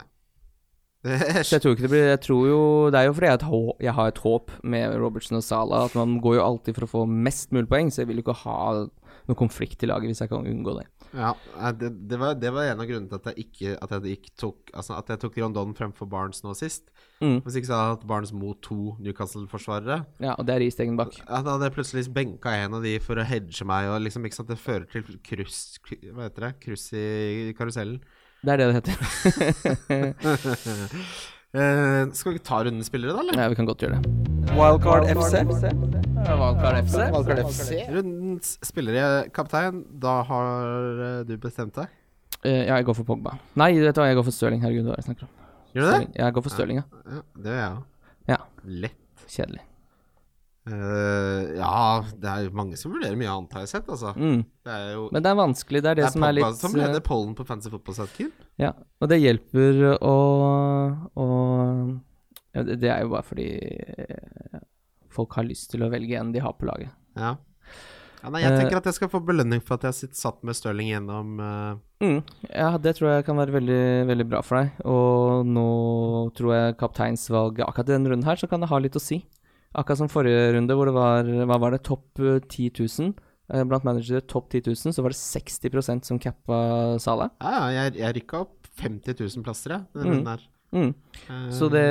D: <laughs>
C: Det
D: Så jeg tror ikke det blir Jeg tror jo Det er jo fordi jeg har et håp, jeg har et håp med Robertson og Sala, at man går jo alltid for å få mest mulig poeng, så jeg vil jo ikke ha noe konflikt i laget hvis jeg kan unngå det.
C: Ja, nei, det, det, var, det var en av grunnene til at jeg ikke at jeg ikke tok Altså at jeg tok Rondon fremfor Barnes nå sist.
D: Mm.
C: Hvis ikke så hadde jeg hatt Barnes mot to Newcastle-forsvarere.
D: Ja, og det er Istegen bak.
C: Ja, Da hadde jeg plutselig benka en av de for å hedge meg, og liksom, ikke sant, det fører til kryss Hva heter det? Kryss i karusellen.
D: Det er det det heter.
C: Eh, skal vi ta runden spillere, da, eller?
D: <laughs> Ja, vi kan godt gjøre det.
A: Wildcard FC.
B: Valgkart FC.
A: Wildcard FC.
C: Rundens spillere, kaptein, da har eh, du bestemt deg?
D: Eh, ja, jeg går for Pogba. Nei, vet du hva, jeg går for Stirling. Herregud, hva er det jeg snakker om?
C: Gjør du det?
D: Stirling. Jeg går for Stirling, ja.
C: Ja, det gjør jeg òg.
D: Ja.
C: Lett.
D: Kjedelig.
C: Eh, ja, det er jo mange som vurderer mye annet, har jeg sett, altså.
D: Mm.
C: Det er jo
D: Men det er vanskelig. Det er det,
C: Det er
D: som er
C: Pogba
D: litt
C: som
D: eh,
C: leder pollen på Fancy Football Satkin.
D: Ja, og det hjelper å, å ja, det- Det er jo bare fordi eh, folk har lyst til å velge en de har på laget.
C: Ja. ja. Nei, jeg
D: Eh,
C: tenker at jeg skal få belønning for at jeg har sitt- satt med Stirling gjennom eh,
D: Mm, ja, det tror jeg kan være veldig, veldig bra for deg. Og nå tror jeg kapteinsvalget akkurat i denne runden her, så kan det ha litt å si. Akkurat som forrige runde, hvor det var hva var det, topp eh, 10 000. eh, Blant managere topp 10 000, så var det 60 som cappa Salah.
C: Ja, ja, jeg, jeg rykka opp 50 000 plasser, jeg. Den
D: Mm.
C: runden her.
D: Mm.
C: Eh,
D: Så det,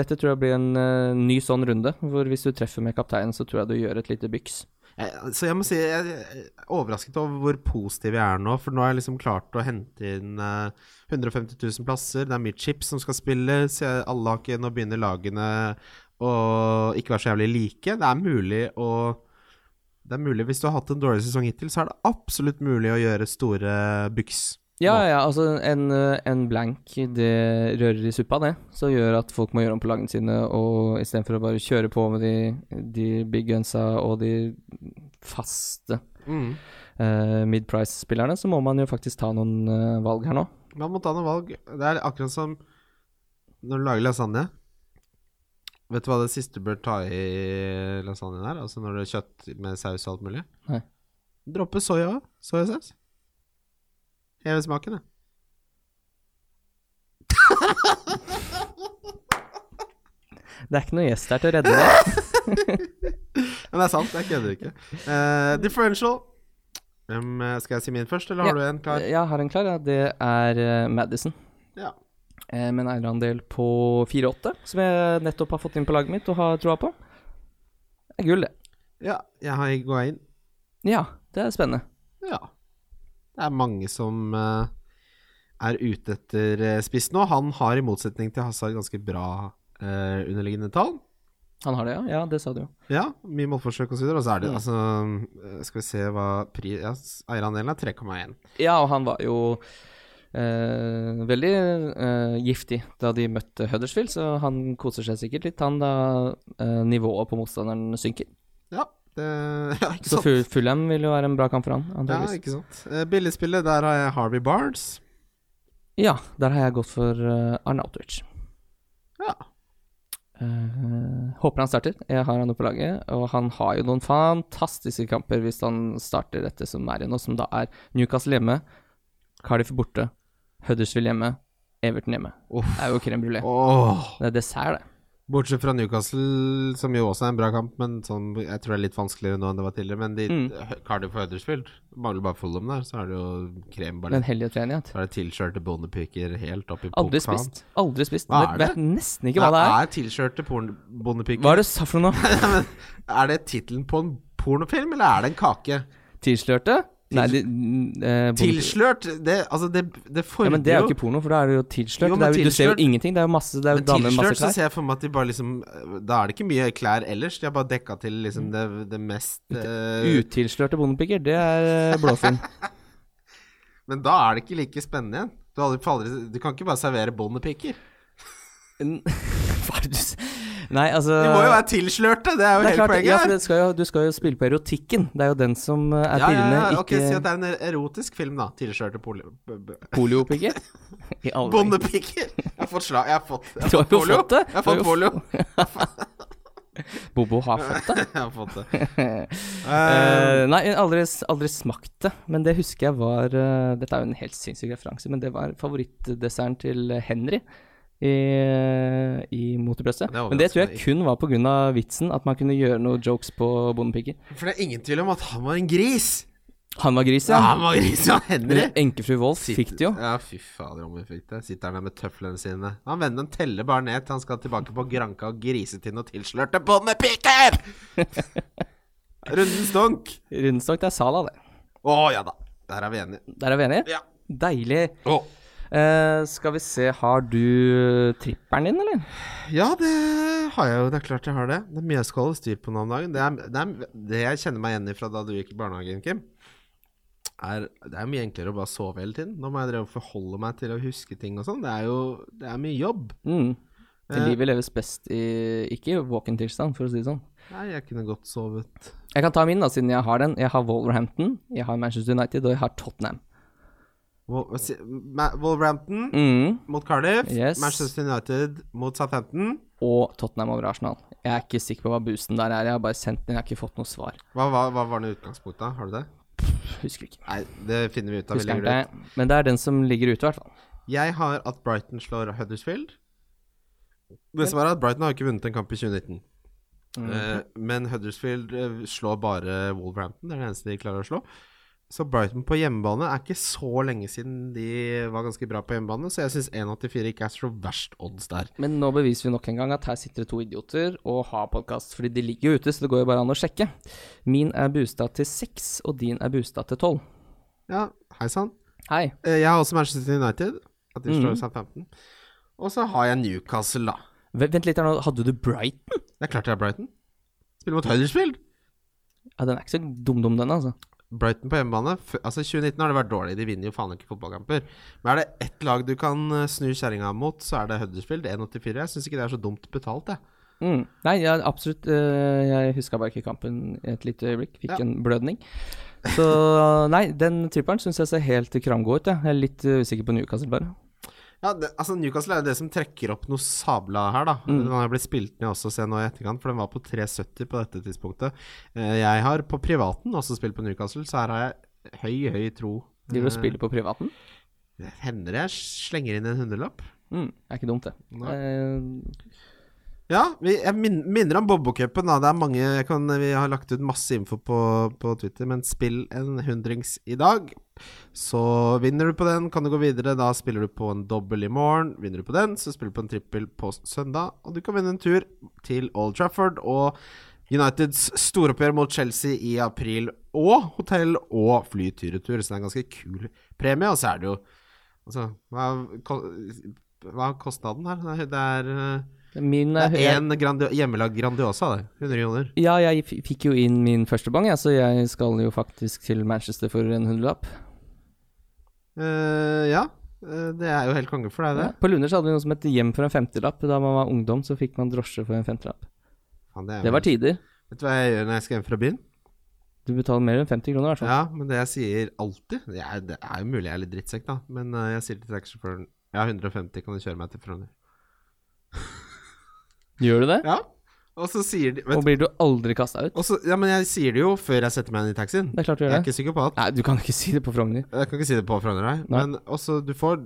D: dette tror jeg blir en eh, ny sånn runde, hvor hvis du treffer med kapteinen, så tror jeg du gjør et lite byks.
C: eh, Så jeg må si jeg er overrasket over hvor positiv jeg er nå, for nå har jeg liksom klart å hente inn eh, 150 000 plasser. Det er mye chips som skal spilles. jeg- Alle har ikke Nå begynner lagene å ikke være så jævlig like. Det er mulig å det er mulig, Hvis du har hatt en dårlig sesong hittil, så er det absolutt mulig å gjøre store byks.
D: Ja, ja, altså en, eh, en blank, det rører i suppa, det. Så gjør at folk må gjøre om på lagene sine, og istedenfor å bare kjøre på med de, de big gunsa og de faste
C: Mm.
D: eh, mid-price-spillerne, så må man jo faktisk ta noen eh, valg her nå.
C: Man må ta noen valg. Det er akkurat som når du lager lasagne. Vet du hva det siste du bør ta i lasagnen er? Altså når det er kjøtt med saus og alt mulig?
D: Nei.
C: Droppe soya òg. Soyasaus. Heve smaken, det.
D: Det er ikke noen gjest her til å redde deg.
C: Men det er sant, jeg kødder ikke. Eh, differential. Hvem, eh, skal jeg si min først, eller har du en klar?
D: Jeg har en klar, <laughs> ja. Det er eh, Madison.
C: Ja.
D: Eh, Med en eierandel på 4-8, som jeg nettopp har fått inn på laget mitt og har troa på. Det er gull, det.
C: ja jeg har Higuain.
D: Ja, det er spennende.
C: Ja. Det er mange som eh, er ute etter eh, spiss nå. Han har i motsetning til Hazard ganske bra eh, underliggende tall.
D: Han har det, ja? Ja, det sa du jo.
C: Ja, mye målforsøk osv. Og så er det altså eh, Skal vi se hva pri... Ja, s- eierandelen er 3,1.
D: Ja, og han var jo eh, veldig eh, giftig da de møtte Huddersfield, så han koser seg sikkert litt, han, da eh, nivået på motstanderen synker.
C: Ja, det, <laughs> ja ikke
D: Så
C: sant?
D: Fu- Fulham vil jo være en bra kamp for han,
C: Ja,
D: antakeligvis.
C: ikke sant. Eh, Billigspillet, der har jeg Harvey Barnes.
D: Ja, der har jeg gått for uh, Arnautovic.
C: Ja.
D: Eh, håper han starter. Jeg har han jo på laget. Og han har jo noen fantastiske kamper hvis han starter dette som er igjen nå, som da er Newcastle hjemme, Cardiff borte, Huddersfield hjemme, Everton hjemme.
C: Uff.
D: Det er jo crème brulé.
C: Åh.
D: Det er dessert, det.
C: Bortsett fra Newcastle, som jo også er en bra kamp, men sånn, jeg tror det er litt vanskeligere nå enn det var tidligere. Men de,
D: Mm.
C: Cardiff og Huddersfield mangler bare Fulham der, så er det jo kremballett.
D: Den hellige treenighet.
C: Så er det tilskjørte bondepiker helt opp i
D: Aldri
C: pokaen.
D: spist. Aldri spist.
C: Hva
D: Vet-
C: er det?
D: Vet nesten ikke hva det er.
C: Er tilskjørte porn- bondepiker
D: Hva er det du sa for noe nå? <laughs>
C: Men Er det tittelen på en pornofilm, eller er det en kake?
D: Tilslørte? Nei, de, n- eh, bonde-
C: Tilslørt? Det, altså, det, det
D: ja,
C: fordrer
D: men Det er jo ikke porno, for da er det jo tilslørt.
C: Jo,
D: det
C: men
D: er jo, du ser jo
C: tilslørt-
D: ingenting. Det er jo masse Det er jo
C: Men
D: damer med masse
C: tilslørt så
D: klær.
C: ser jeg for meg at de bare liksom Da er det ikke mye klær ellers. De har bare dekka til liksom
D: Mm.
C: det, det mest eh,
D: Utilslørte bondepiker, det er eh,
C: <laughs>
D: blåfilm.
C: Men da er det ikke like spennende igjen. Du, har aldri, får aldri, du kan ikke bare servere bondepiker.
D: Eh, N- Hva er det du s- Nei, altså
C: De må jo være tilslørte! Det er jo
D: det er
C: hele
D: klart,
C: poenget.
D: ja, for
C: her.
D: det skal jo, Du skal jo spille på erotikken. Det er jo den som eh, er
C: Ja, ja,
D: pirrende,
C: ja, Ok, Si at
D: ikke
C: det er en erotisk film, da. Tilskjørte poli- b- b- <laughs>
D: poliopiker. I alle dager.
C: Bondepiker! Jeg har fått slag. Jeg har fått, jeg har
D: Du har
C: fått
D: jo
C: polio.
D: fått det.
C: Jeg
D: Du
C: har
D: har
C: fått
D: jo
C: polio.
D: Bobo har fått <laughs> det.
C: <laughs> Jeg har fått det.
D: Eh, nei, jeg har aldri, s- aldri smakt det, men det husker jeg var eh, Dette er jo en helt sinnssyk referanse, men det var favorittdesserten til Henry i, i Motebrøstet.
C: Det overrasker
D: Men det tror jeg
C: meg
D: kun var pga. vitsen, at man kunne gjøre noen jokes på bondepiker.
C: Eh, For det er ingen tvil om at han var en gris.
D: Han var gris,
C: Ja,
D: ja.
C: han var gris, ja. Henry.
D: Men Enkefru Wolff
C: Sitt-
D: fikk det jo.
C: Ja, fy fader om hun fikk det. Sitter han der med tøflene sine. Han vender han teller bare ned til han skal tilbake på Granka og grisetinn og tilslørte
D: <laughs>
C: bondepiker! Runden stonk.
D: Rundstokk, det er Sala, det.
C: Å ja da. Der er vi enige.
D: Der er vi enige?
C: Ja.
D: Deilig.
C: Å.
D: Eh, skal vi se, har du tripperen din, eller?
C: Ja, det har jeg jo. Det er klart jeg har det. Det er mye jeg skal holde styr på nå om dagen. Det, er, det, er, det jeg kjenner meg igjen i fra da du gikk i barnehagen, Kim, er det er mye enklere å bare sove hele tiden. Nå må jeg drive og forholde meg til å huske ting og sånn. Det er jo det er mye jobb.
D: Mm.
C: Eh.
D: Livet leves best i ikke i våken-tilstand, for å si det sånn.
C: Nei, jeg kunne godt sovet.
D: Jeg kan ta min, da, siden jeg har den. Jeg har Wolverhampton, jeg har Manchester United, og jeg har Tottenham.
C: Wol- hva si- Ma- Wolverhampton
D: Mm.
C: mot Cardiff.
D: Yes.
C: Manchester United mot Southampton.
D: Og Tottenham over Arsenal. Jeg er ikke sikker på hva boosten der er, jeg har bare sendt den, jeg har ikke fått noe svar.
C: Hva, hva, hva var det i utgangspunktet? da? Har du det?
D: Husker ikke.
C: Nei, det finner vi ut av. Vi
D: Husker
C: legger det ut.
D: ikke. Men det er den som ligger ute, i hvert fall.
C: Jeg har at Brighton slår Huddersfield. Det som er at Brighton har ikke vunnet en kamp i 2019.
D: Mm,
C: Eh, men Huddersfield eh, slår bare Wolverhampton. Det er det eneste de klarer å slå. Så Brighton på hjemmebane er ikke så lenge siden de var ganske bra på hjemmebane, så jeg syns 1,84 ikke er så verst odds der.
D: Men nå beviser vi nok en gang at her sitter det to idioter og har podkast, fordi de ligger jo ute, så det går jo bare an å sjekke. Min er boosta til seks, og din er boosta til tolv.
C: Ja, hei sann.
D: Hei.
C: Eh, Jeg har også Manchester United. At de slår Southampton. Og så har jeg Newcastle, da.
D: V- Vent litt her nå, hadde du Brighton?
C: Det er klart jeg har Brighton. Spiller mot Huddersfield.
D: Ja, den er ikke så dum-dum, den, altså.
C: Brighton på hjemmebane f- Altså 2019 har det vært dårlig, de vinner jo faen ikke fotballkamper. Men er det ett lag du kan eh, snu kjerringa mot, så er det Huddersfield 1,84. Jeg syns ikke det er så dumt betalt, jeg.
D: Mm. Nei, ja, absolutt. eh, Jeg huska bare ikke kampen et lite øyeblikk. Fikk
C: Ja.
D: en blødning. Så <laughs> nei, den tripperen syns jeg ser helt kramgod ut. Jeg. jeg er litt eh, usikker på Newcastle, bare.
C: Ja, det, altså Newcastle er jo det som trekker opp noe sabla her, da. Den har blitt spilt ned også, ser jeg nå i etterkant, for den var på 3,70 på dette tidspunktet. Eh, Jeg har på privaten også spilt på Newcastle, så her har jeg høy, høy tro.
D: Driver
C: Mm.
D: og spiller på privaten.
C: Eh, Hender det jeg slenger inn en hundrelapp?
D: Mm. Det er ikke dumt, det.
C: Nei.
D: Eh,
C: Ja, vi, jeg min, minner om Bobokupen. da. Det er mange jeg kan, Vi har lagt ut masse info på, på Twitter, men spill en hundrings i dag. Så vinner du på den, kan du gå videre. Da spiller du på en dobbel i morgen. Vinner du på den, så spiller du på en trippel på søndag. Og du kan vinne en tur til Old Trafford og Uniteds storoppgjør mot Chelsea i april. Og hotell og flytur-retur, så det er en ganske kul premie. Og så er det jo Altså, hva er, ko- hva er kostnaden her? Det er, det er eh,
D: min
C: det
D: er
C: er én grandi hjemmelagd Grandiosa, det. 100 kroner.
D: Ja, jeg f- fikk jo inn min første bang, jeg, så jeg skal jo faktisk til Manchester for en hundrelapp.
C: Eh, ja, eh, det er jo helt konge for deg, det.
D: Ja. På Lunder så hadde vi noe som het hjem for en femtilapp. Da man var ungdom, så fikk man drosje for en femtilapp.
C: Faen, det, er,
D: Det var tider.
C: Vet du hva jeg gjør når jeg skal hjem fra byen?
D: Du betaler mer enn 50 kroner, i hvert fall.
C: Ja, men det jeg sier alltid Det er, det er jo mulig jeg er litt drittsekk, da, men eh, jeg sier til taxisjåføren Jeg har 150, kan du kjøre meg til Frogner?
D: Gjør du det?
C: Ja. Og så sier de
D: Og
C: vet,
D: blir du aldri kasta ut?
C: og så, Ja, men jeg sier det jo før jeg setter meg inn i taxien.
D: Det er klart du
C: Jeg
D: gjør
C: er
D: det.
C: ikke psykopat.
D: Nei, du kan ikke si det på Frogner.
C: Jeg kan ikke si det på Frogner, nei.
D: Nei.
C: Men også, du får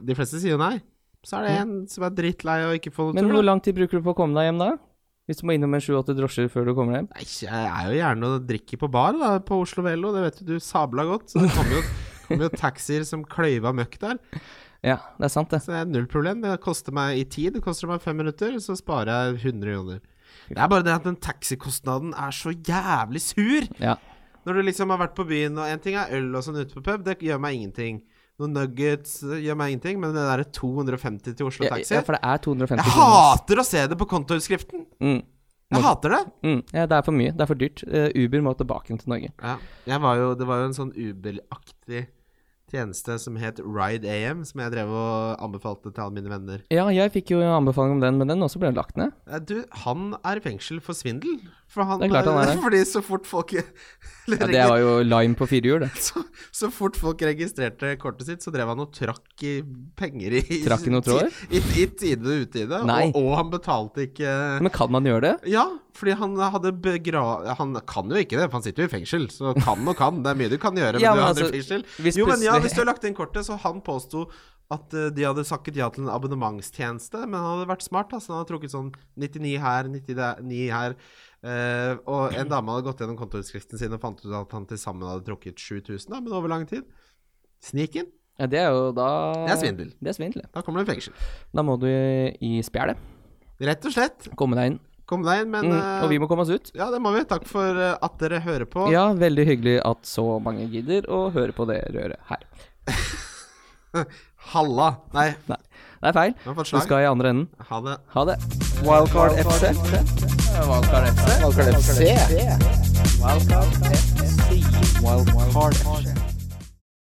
C: De fleste sier jo nei. Så er det en som er drittlei og ikke får noe
D: Men
C: tur.
D: hvor
C: da.
D: lang tid bruker du på å komme deg hjem da? Hvis du må innom en sju-åtte drosjer før du kommer hjem?
C: Nei, jeg er jo gjerne og drikker på bar da, på Oslo Vello, det vet jo du sabla godt. Så det kommer jo, kommer jo taxier som kløyva møkk der.
D: Ja, det er sant, det.
C: Så det er null problem. Det koster meg i tid, det koster meg fem minutter, så sparer jeg 100 kroner. Det er bare det at den taxikostnaden er så jævlig sur!
D: Ja.
C: Når du liksom har vært på byen, og en ting er øl og sånn ute på pub, det gjør meg ingenting. Noen nuggets det gjør meg ingenting, men det derre 250 til Oslo
D: Ja,
C: Taxi
D: ja, for det er 250
C: Jeg
D: kroner.
C: hater å se det på kontoutskriften!
D: Mm.
C: Jeg hater det!
D: Mm, ja, det er for mye. Det er for dyrt. Eh, Uber må tilbake til Norge.
C: Ja. Jeg var jo, det var jo en sånn Uber-aktig tjeneste som het Ride AM, som jeg drev og anbefalte til alle mine venner.
D: Ja, jeg fikk jo en anbefaling om den, men den også ble lagt ned.
C: Eh, Du, han er i fengsel for svindel. For han,
D: Det er klart han er det.
C: <laughs> Fordi så fort folk
D: Ja, Det var jo lime på firehjul, det.
C: så, så fort folk registrerte kortet sitt, så drev han og trakk i penger i
D: <laughs> Trakk i noen tråder?
C: <laughs> I, i tide og utide.
D: Nei.
C: Og, og han betalte ikke
D: Men kan man gjøre det?
C: ja, fordi han hadde begra... Han kan jo ikke det, for han sitter jo i fengsel. Så kan og kan, det er mye du kan gjøre. Men
D: Ja,
C: du
D: men
C: hadde
D: altså,
C: fengsel.
D: hvis
C: jo, men ja,
D: plutselig-
C: hvis du har lagt inn kortet, så han påsto at eh, de hadde sakket ja til en abonnementstjeneste, men han hadde vært smart. Altså, han hadde trukket sånn 99 her, 99 her. eh, og en dame hadde gått gjennom kontoutskriften sin og fant ut at han til sammen hadde trukket 7000, da, men over lang tid. Sniken.
D: Ja, det er jo da
C: Det er svindel.
D: Det er svindel, ja.
C: Da kommer det fengsel.
D: Da må du i i spjælet.
C: Rett og slett.
D: Komme deg inn.
C: Kom deg inn, men
D: Mm,
C: eh,
D: og vi må komme oss ut.
C: Ja, det må vi. Takk for eh, at dere hører på.
D: Ja, veldig hyggelig at så mange gidder å høre på det røret her.
C: Halla. Nei,
D: Nei, det er feil.
C: har fått
D: Du
C: slag.
D: skal i andre enden.
C: ha det.
D: Ha det.
A: Wildcard FC.
B: Wildcard FC.
A: Wildcard FC.
B: Wildcard FC.